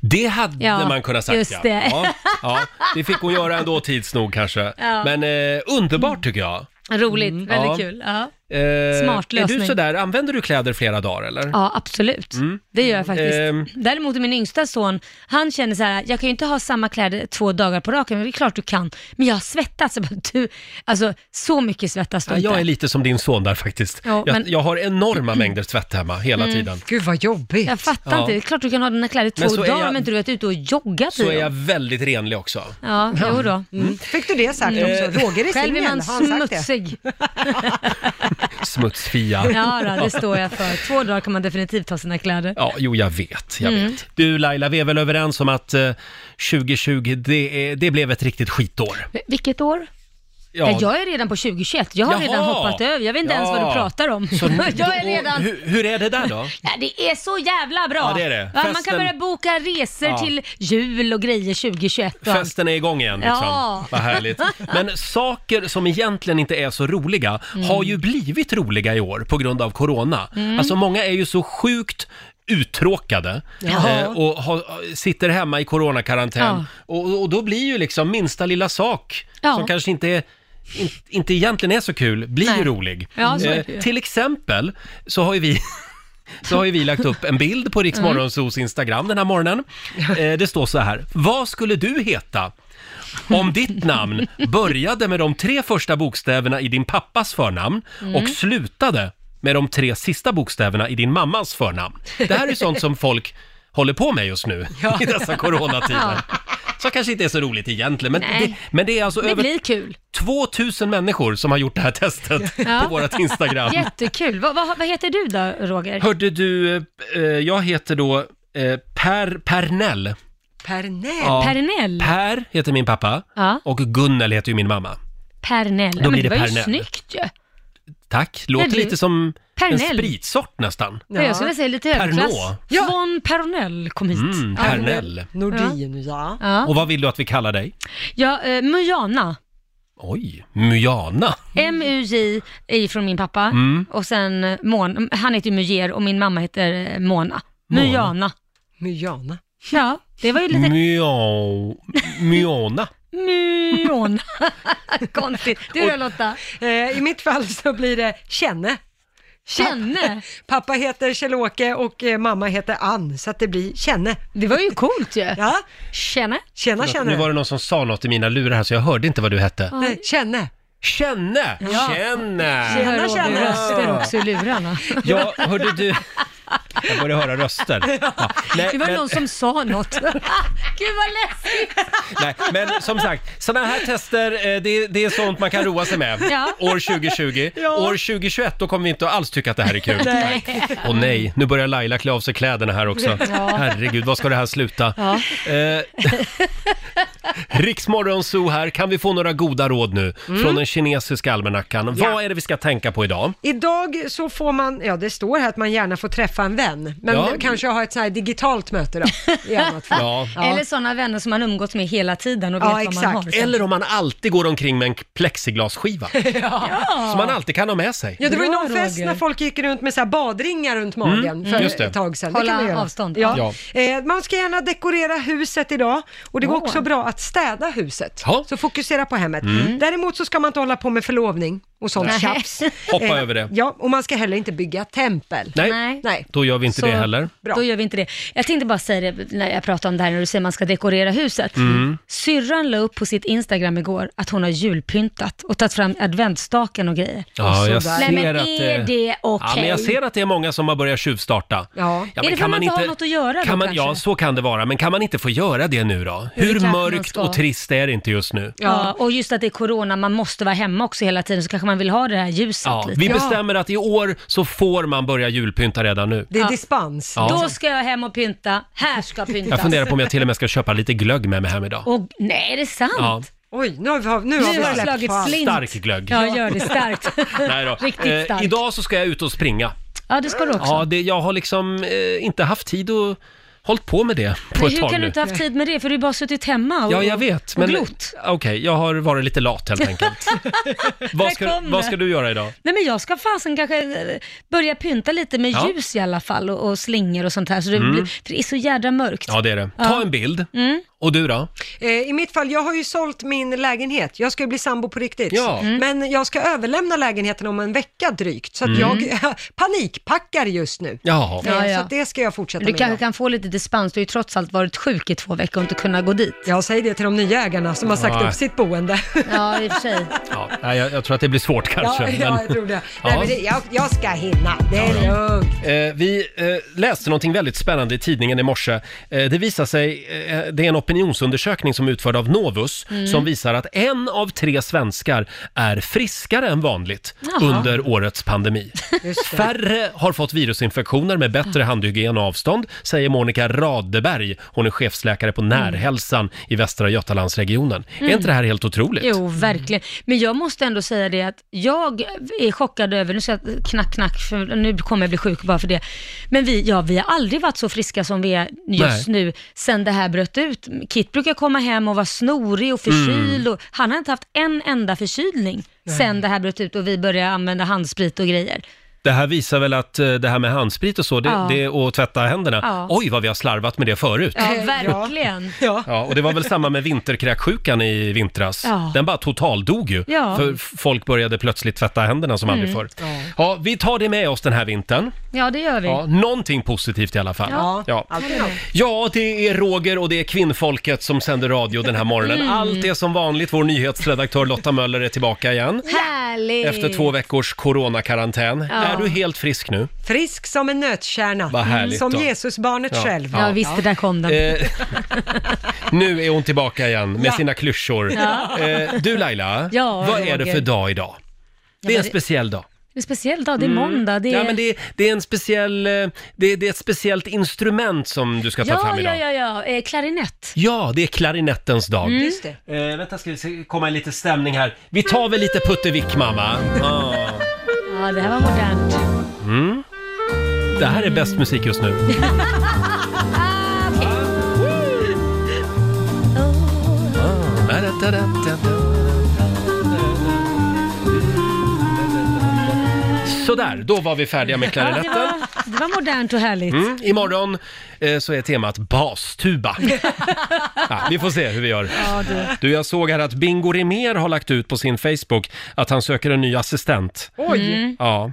Det hade Ja, man kunnat sagt just ja. det. ja. Ja, det fick hon göra ändå tids nog kanske. Ja. Men eh, underbart tycker jag. Roligt, väldigt Mm, Ja. kul. Ja. Eh, Smart Är du lösning. sådär, använder du kläder flera dagar eller? Ja, absolut. Mm. Det gör jag faktiskt. Ehm. Däremot är min yngsta son, han känner så här, jag kan ju inte ha samma kläder två dagar på raken, men det är klart du kan. Men jag har svettats. Jag bara, Du, alltså, så mycket svettas du Ja, inte. jag är lite som din son där faktiskt. Ja, jag, men- jag har enorma mängder tvätt hemma hela Mm. tiden. Gud vad jobbigt. Jag fattar Ja. inte, det är klart du kan ha dina kläder Men två så är dagar jag- om inte du är ute och joggat Så i är dem. jag väldigt renlig också. Ja, jo då. Fick du det sagt Mm. också? Roger är Själv singel, är man har han sagt det? smutsig. Smutsfia. Ja, då, det står jag för. Två dagar kan man definitivt ha sina kläder. Ja, jo jag vet, jag Mm. vet. Du Laila, vi är väl överens om att eh, 2020, det, är, det blev ett riktigt skitår. Vilket år? Ja. Ja. Jag är redan på 2021. Jag har Jaha. redan hoppat över. Jag vet inte ens vad Ja. du pratar om. Så nu- jag är redan... och Hur, hur är det där då? Ja, det är så jävla bra! Ja, det är det. Va, Man Festen- kan börja boka resor Ja. till jul och grejer 2021. och allt. Festen är igång igen liksom. Ja. Vad härligt. Men saker som egentligen inte är så roliga har ju blivit roliga i år på grund av corona. Mm. Alltså många är ju så sjukt uttråkade Ja. eh, och har, sitter hemma i coronakarantän. Ja. Och, och då blir ju liksom minsta lilla sak Ja. som kanske inte är in, inte egentligen är så kul, blir ju Nej. rolig. Eh, Ja, så är det ju. till exempel så har ju vi så har ju vi lagt upp en bild på Mm. Riksmorgonsos Instagram den här morgonen. Eh, det står så här. Vad skulle du heta Om ditt namn började med de tre första bokstäverna i din pappas förnamn Mm. och slutade med de tre sista bokstäverna i din mammas förnamn. Det här är sånt som folk håller på med just nu Ja. i dessa coronatider. Ja. Så kanske inte är så roligt egentligen, men, Nej. det, men det är alltså Det över blir kul. 2000 människor som har gjort det här testet på vårt Instagram. Jättekul. Vad, vad, vad heter du då, Roger? Hörde du, eh, jag heter då eh, Per Pernell. Pernell. Ja. Pernell. Per heter min pappa Ja. och Gunnel heter ju min mamma. Pernell. Då Ja, men blir det det var ju Pernell. snyggt ju. Tack, låter Men du- lite som en Pernell. spritsort nästan. Ja. Jag skulle säga lite Pernod. överklass. Ja. Von Pernell kom hit. Mm, Pernell. Nordin, ja. Ja, Och vad vill du att vi kallar dig? ja eh, Mujana. Oj, Myana. M-U-J är ju från min pappa Mm. och sen eh, Mon, han heter ju Mujer och min mamma heter eh, Mona. Mona. Mujana. Myana. Ja, det var ju lite Myao... Myona. Mujona. Mm. Konstigt. Du då Och- Lotta? Eh, I mitt fall så blir det Känne. Känne? Pappa heter Kjell-Åke och eh, mamma heter Ann, så att det blir Känne. Det var ju coolt ju. Ja. Känne. Tjena, Nu känne. var det någon som sa något i mina lurar här så jag hörde inte vad du hette. Nej, Känne. Känne! Ja. Känne! Tjena, tjänne. Röster också i lurarna. Ja, hörde du... Jag börjar höra röster. Ja. Nej, Det var men- någon som sa något. Gud vad läskigt! Nej, men som sagt, sådana här tester, eh, det, det är sånt man kan roa sig med. Ja. År 2020. Ja. År 2021, då kommer vi inte att alls tycka att det här är kul. Nej. Och nej, nu börjar Laila klä av sig kläderna här också. Ja. Herregud, vad ska det här sluta? Ja. Eh, Riksmorgon Zoo här, kan vi få några goda råd nu Mm. från den kinesiska almanackan? Ja. Vad är det vi ska tänka på idag? Idag så får man, ja det står här att man gärna får träffa en vän, men Ja. kanske ha ett så här digitalt möte då. I annat fall. Ja. Eller sådana vänner som man umgås med hela tiden och vet Ja, vad man exakt. har. Eller om man alltid går omkring med en plexiglasskiva. Ja. Som man alltid kan ha med sig. Ja, det var ju Bra, någon fest Roger. när folk gick runt med så här badringar runt magen Mm, för just det. ett tag sedan. Hålla man göra. avstånd. Ja. Eh, man ska gärna dekorera huset idag och det går Ja. också bra att städa huset. Ja. Så fokusera på hemmet. Mm. Däremot så ska man inte hålla på med förlovning och sånt Nej. tjafs. Eh, Hoppa över det. Ja, och man ska heller inte bygga tempel. Nej. Nej. Då gör vi inte Så- det heller. Då gör vi inte det. Jag tänkte bara säga det när jag pratade om det här när du säger man ska dekorera huset. Mm. Syrran la upp på sitt Instagram igår att hon har julpyntat och tagit fram adventsstaken och grejer. Ja, jag ser Nej, men att eh, är det okej? Ja, men jag ser att det är många som har börjat tjuvstarta. Ja. Ja, är men det för att man inte har något att göra kan då man, kanske? Ja, så kan det vara. Men kan man inte få göra det nu då? Jo, det Hur kanske man mörkt ska. och trist är det inte just nu? Ja, och just att det är corona, man måste vara hemma också hela tiden, så kanske man vill ha det här ljuset Ja, lite. vi bestämmer att i år så får man börja julpynta redan nu. Det är dispens. Ja. Då ska jag hem och pynta, här ska pyntas. Jag funderar på om jag till och med ska köpa lite glögg med mig hem idag. Och, nej, är det sant? Ja. Oj, nu har vi, nu Nu har vi har släppt slagit på allt. slint. Stark glögg. Ja, gör det starkt. Nej då. Riktigt starkt. Eh, idag så ska jag ut och springa. Ja, det ska du också. Ja, det, jag har liksom eh, inte haft tid och hållit på med det på Men ett hur tag kan nu. du inte ha haft tid med det? För du har bara suttit hemma och, Ja, jag vet. och Men, glott. Okej, jag har varit lite lat helt enkelt. vad, ska, kom det. vad ska du göra idag? Nej men jag ska fasen kanske eh, börja pynta lite med Ja. ljus i alla fall och, och slingor och sånt här. Så det, Mm. blir, för det är så jädra mörkt. Ja, det är det. Ta Ja. en bild. Mm. Och du då? Eh, I mitt fall, jag har ju sålt min lägenhet. Jag ska ju bli sambo på riktigt. Ja. Mm. Men jag ska överlämna lägenheten om en vecka drygt. Så att Mm. jag panikpackar just nu. Jaha. Eh, Ja, ja. Så att det ska jag fortsätta Du med kanske idag. kan få lite dispens, du har ju trots allt varit sjuk i två veckor och inte kunnat gå dit. Jag säger det till de nya ägarna som har sagt Nej. upp sitt boende. Ja, i och för sig. Ja, nej, jag, jag tror att det blir svårt kanske. ja, ja, jag tror det. Ja. Nej, men det jag, jag ska hinna. Det är lugnt. Eh, vi eh, läste någonting väldigt spännande i tidningen i morse. Eh, det visar sig, eh, det är en opinionsundersökning som är utförd av Novus Mm. som visar att en av tre svenskar är friskare än vanligt Jaha. under årets pandemi. Just det. Färre har fått virusinfektioner med bättre handhygien och avstånd, säger Monica Radeberg. Hon är chefsläkare på Närhälsan i Västra Götalandsregionen. Är Mm. inte det här helt Mm. otroligt? Jo, verkligen. Men jag måste ändå säga det att jag är chockad över, nu ska jag knack, knack, för nu kommer jag bli sjuk bara för det. Men vi, ja, vi har aldrig varit så friska som vi är just nu sen det här bröt ut. Kit brukar komma hem och vara snorig och förkyld Mm. och han har inte haft en enda förkylning sen det här bröt ut och vi började använda handsprit och grejer. Det här visar väl att eh, det här med handsprit och så, det, Ja. det, och tvätta händerna, Ja. oj vad vi har slarvat med det förut. Ja, verkligen. Ja. Ja, och det var väl samma med vinterkräksjukan i vintras. Ja. Den bara totaldog ju. Ja. För f- folk började plötsligt tvätta händerna som aldrig Mm. förr. Ja, vi tar det med oss den här vintern. Ja, det gör vi. Ja, någonting positivt i alla fall. Ja, ja. alltid något. ja, det är Roger och det är kvinnfolket som sänder radio den här morgonen. Mm. Allt är som vanligt. Vår nyhetsredaktör Lotta Möller är tillbaka igen. Härligt! Efter två veckors coronakarantän. Ja. Är du helt frisk nu? Frisk som en nötkärna. Vad härligt som då. Jesusbarnet Ja. själv. Ja, visst, det där kom Eh, nu är hon tillbaka igen med Ja. sina klyschor. Ja. Eh, du Laila, Ja, vad är Roger. det för dag idag? Det är en det- speciell dag. Det är en speciell dag, det är Mm. måndag. Det är... Ja, men det, är- det är en speciell... eh, Det, är- det är ett speciellt instrument som du ska ta ja, fram ja, idag. ja, ja. Eh, klarinett. Ja, det är klarinettens dag. Mm. Just det. Eh, vänta, ska vi se, komma i lite stämning här. Vi tar väl lite Putte mamma. Ja. Ja, det här var modernt. Mm. Det här är bäst musik just nu. Ah, Okej. Sådär, då var vi färdiga med Ja, det, klarinetten. var, det var modernt och härligt. Mm, imorgon eh, så är temat bastuba. ja, vi får se hur vi gör. Ja, du. Du, jag såg här att Bingo Rimér har lagt ut på sin Facebook att han söker en ny assistent. Oj. Mm. Ja.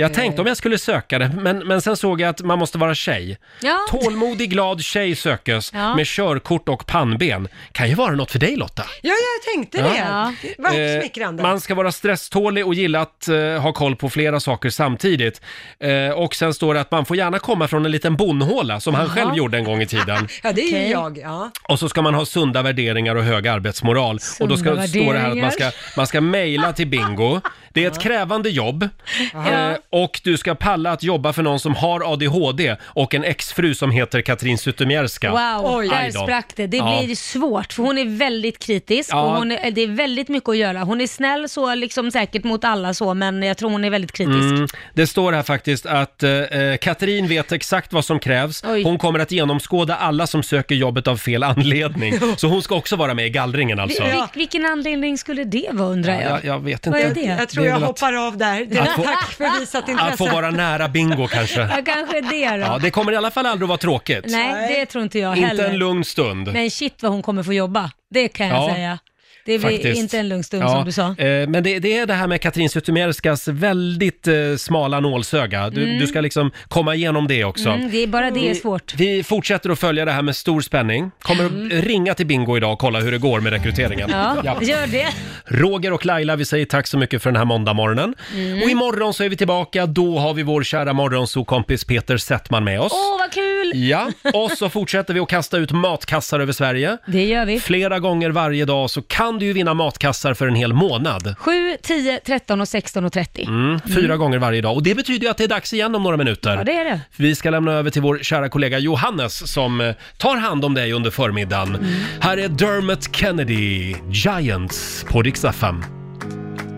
Jag tänkte om jag skulle söka det, men, men sen såg jag att man måste vara tjej. Ja. Tålmodig, glad tjej sökes Ja. med körkort och pannben. Kan ju vara något för dig Lotta. Ja, jag tänkte det. Ja. Vad Eh, smickrande. man ska vara stresstålig och gilla att eh, ha koll på flera saker samtidigt. Eh, och sen står det att man får gärna komma från en liten bonhåla som han Jaha. själv gjorde en gång i tiden. Ja, det är ju Okej. jag. Ja. Och så ska man ha sunda värderingar och hög arbetsmoral. och då ska, Sunda står det här att värderingar. man ska, man ska mejla till Bingo. Det är ett krävande jobb. Ja. Eh, och du ska palla att jobba för någon som har ADHD och en exfru som heter Katrin Zytomierska. Wow, där Aj då. sprack det. Det Ja. blir svårt för hon är väldigt kritisk Ja. och hon är, det är väldigt mycket att göra. Hon är snäll så liksom säkert mot alla så men jag tror hon är väldigt kritisk. Mm, det står här faktiskt att eh, eh, Katrin vet exakt vad som krävs. Oj. Hon kommer att genomskåda alla som söker jobbet av fel anledning. Så hon ska också vara med i gallringen alltså. Vil, vil, vilken anledning skulle det vara undrar jag? Ja, jag vet Vad inte. är det? Jag tror Det är jag väl att- av där. Det var Att få- tack för visat Att få vara nära bingo Ja, kanske. kanske det då. Ja, det kommer i alla fall aldrig att vara tråkigt. Nej, det tror inte jag Inte heller. en lugn stund. Men shit vad hon kommer få jobba. Det kan jag Ja, säga. Det blir Faktiskt. inte en lugn stund Ja, som du sa. Mm, eh, Men det, det är det här med Katrin Zytomierskas väldigt eh, smala nålsöga. Du, Mm. du ska liksom komma igenom det också. Mm, det är bara det är svårt. Vi fortsätter att följa det här med stor spänning. Kommer att ringa till Bingo idag och kolla hur det går med rekryteringen. Mm. Ja, gör det. Roger och Laila, vi säger tack så mycket för den här måndagmorgonen. Mm. Och imorgon så är vi tillbaka. Då har vi vår kära morgonsokompis Peter Settman med oss. Åh, vad kul! Ja, och så fortsätter vi att kasta ut matkassar över Sverige. Det gör vi. Flera gånger varje dag så kan du ju vinna matkassar för en hel månad. 7, 10, 13 och 16 och 30. Mm, fyra Mm. gånger varje dag och det betyder ju att det är dags igen om några minuter. Ja, det är det. Vi ska lämna över till vår kära kollega Johannes som eh, tar hand om dig under förmiddagen. Här är Dermot Kennedy, Giants på Rix FM.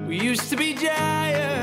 We used to be giants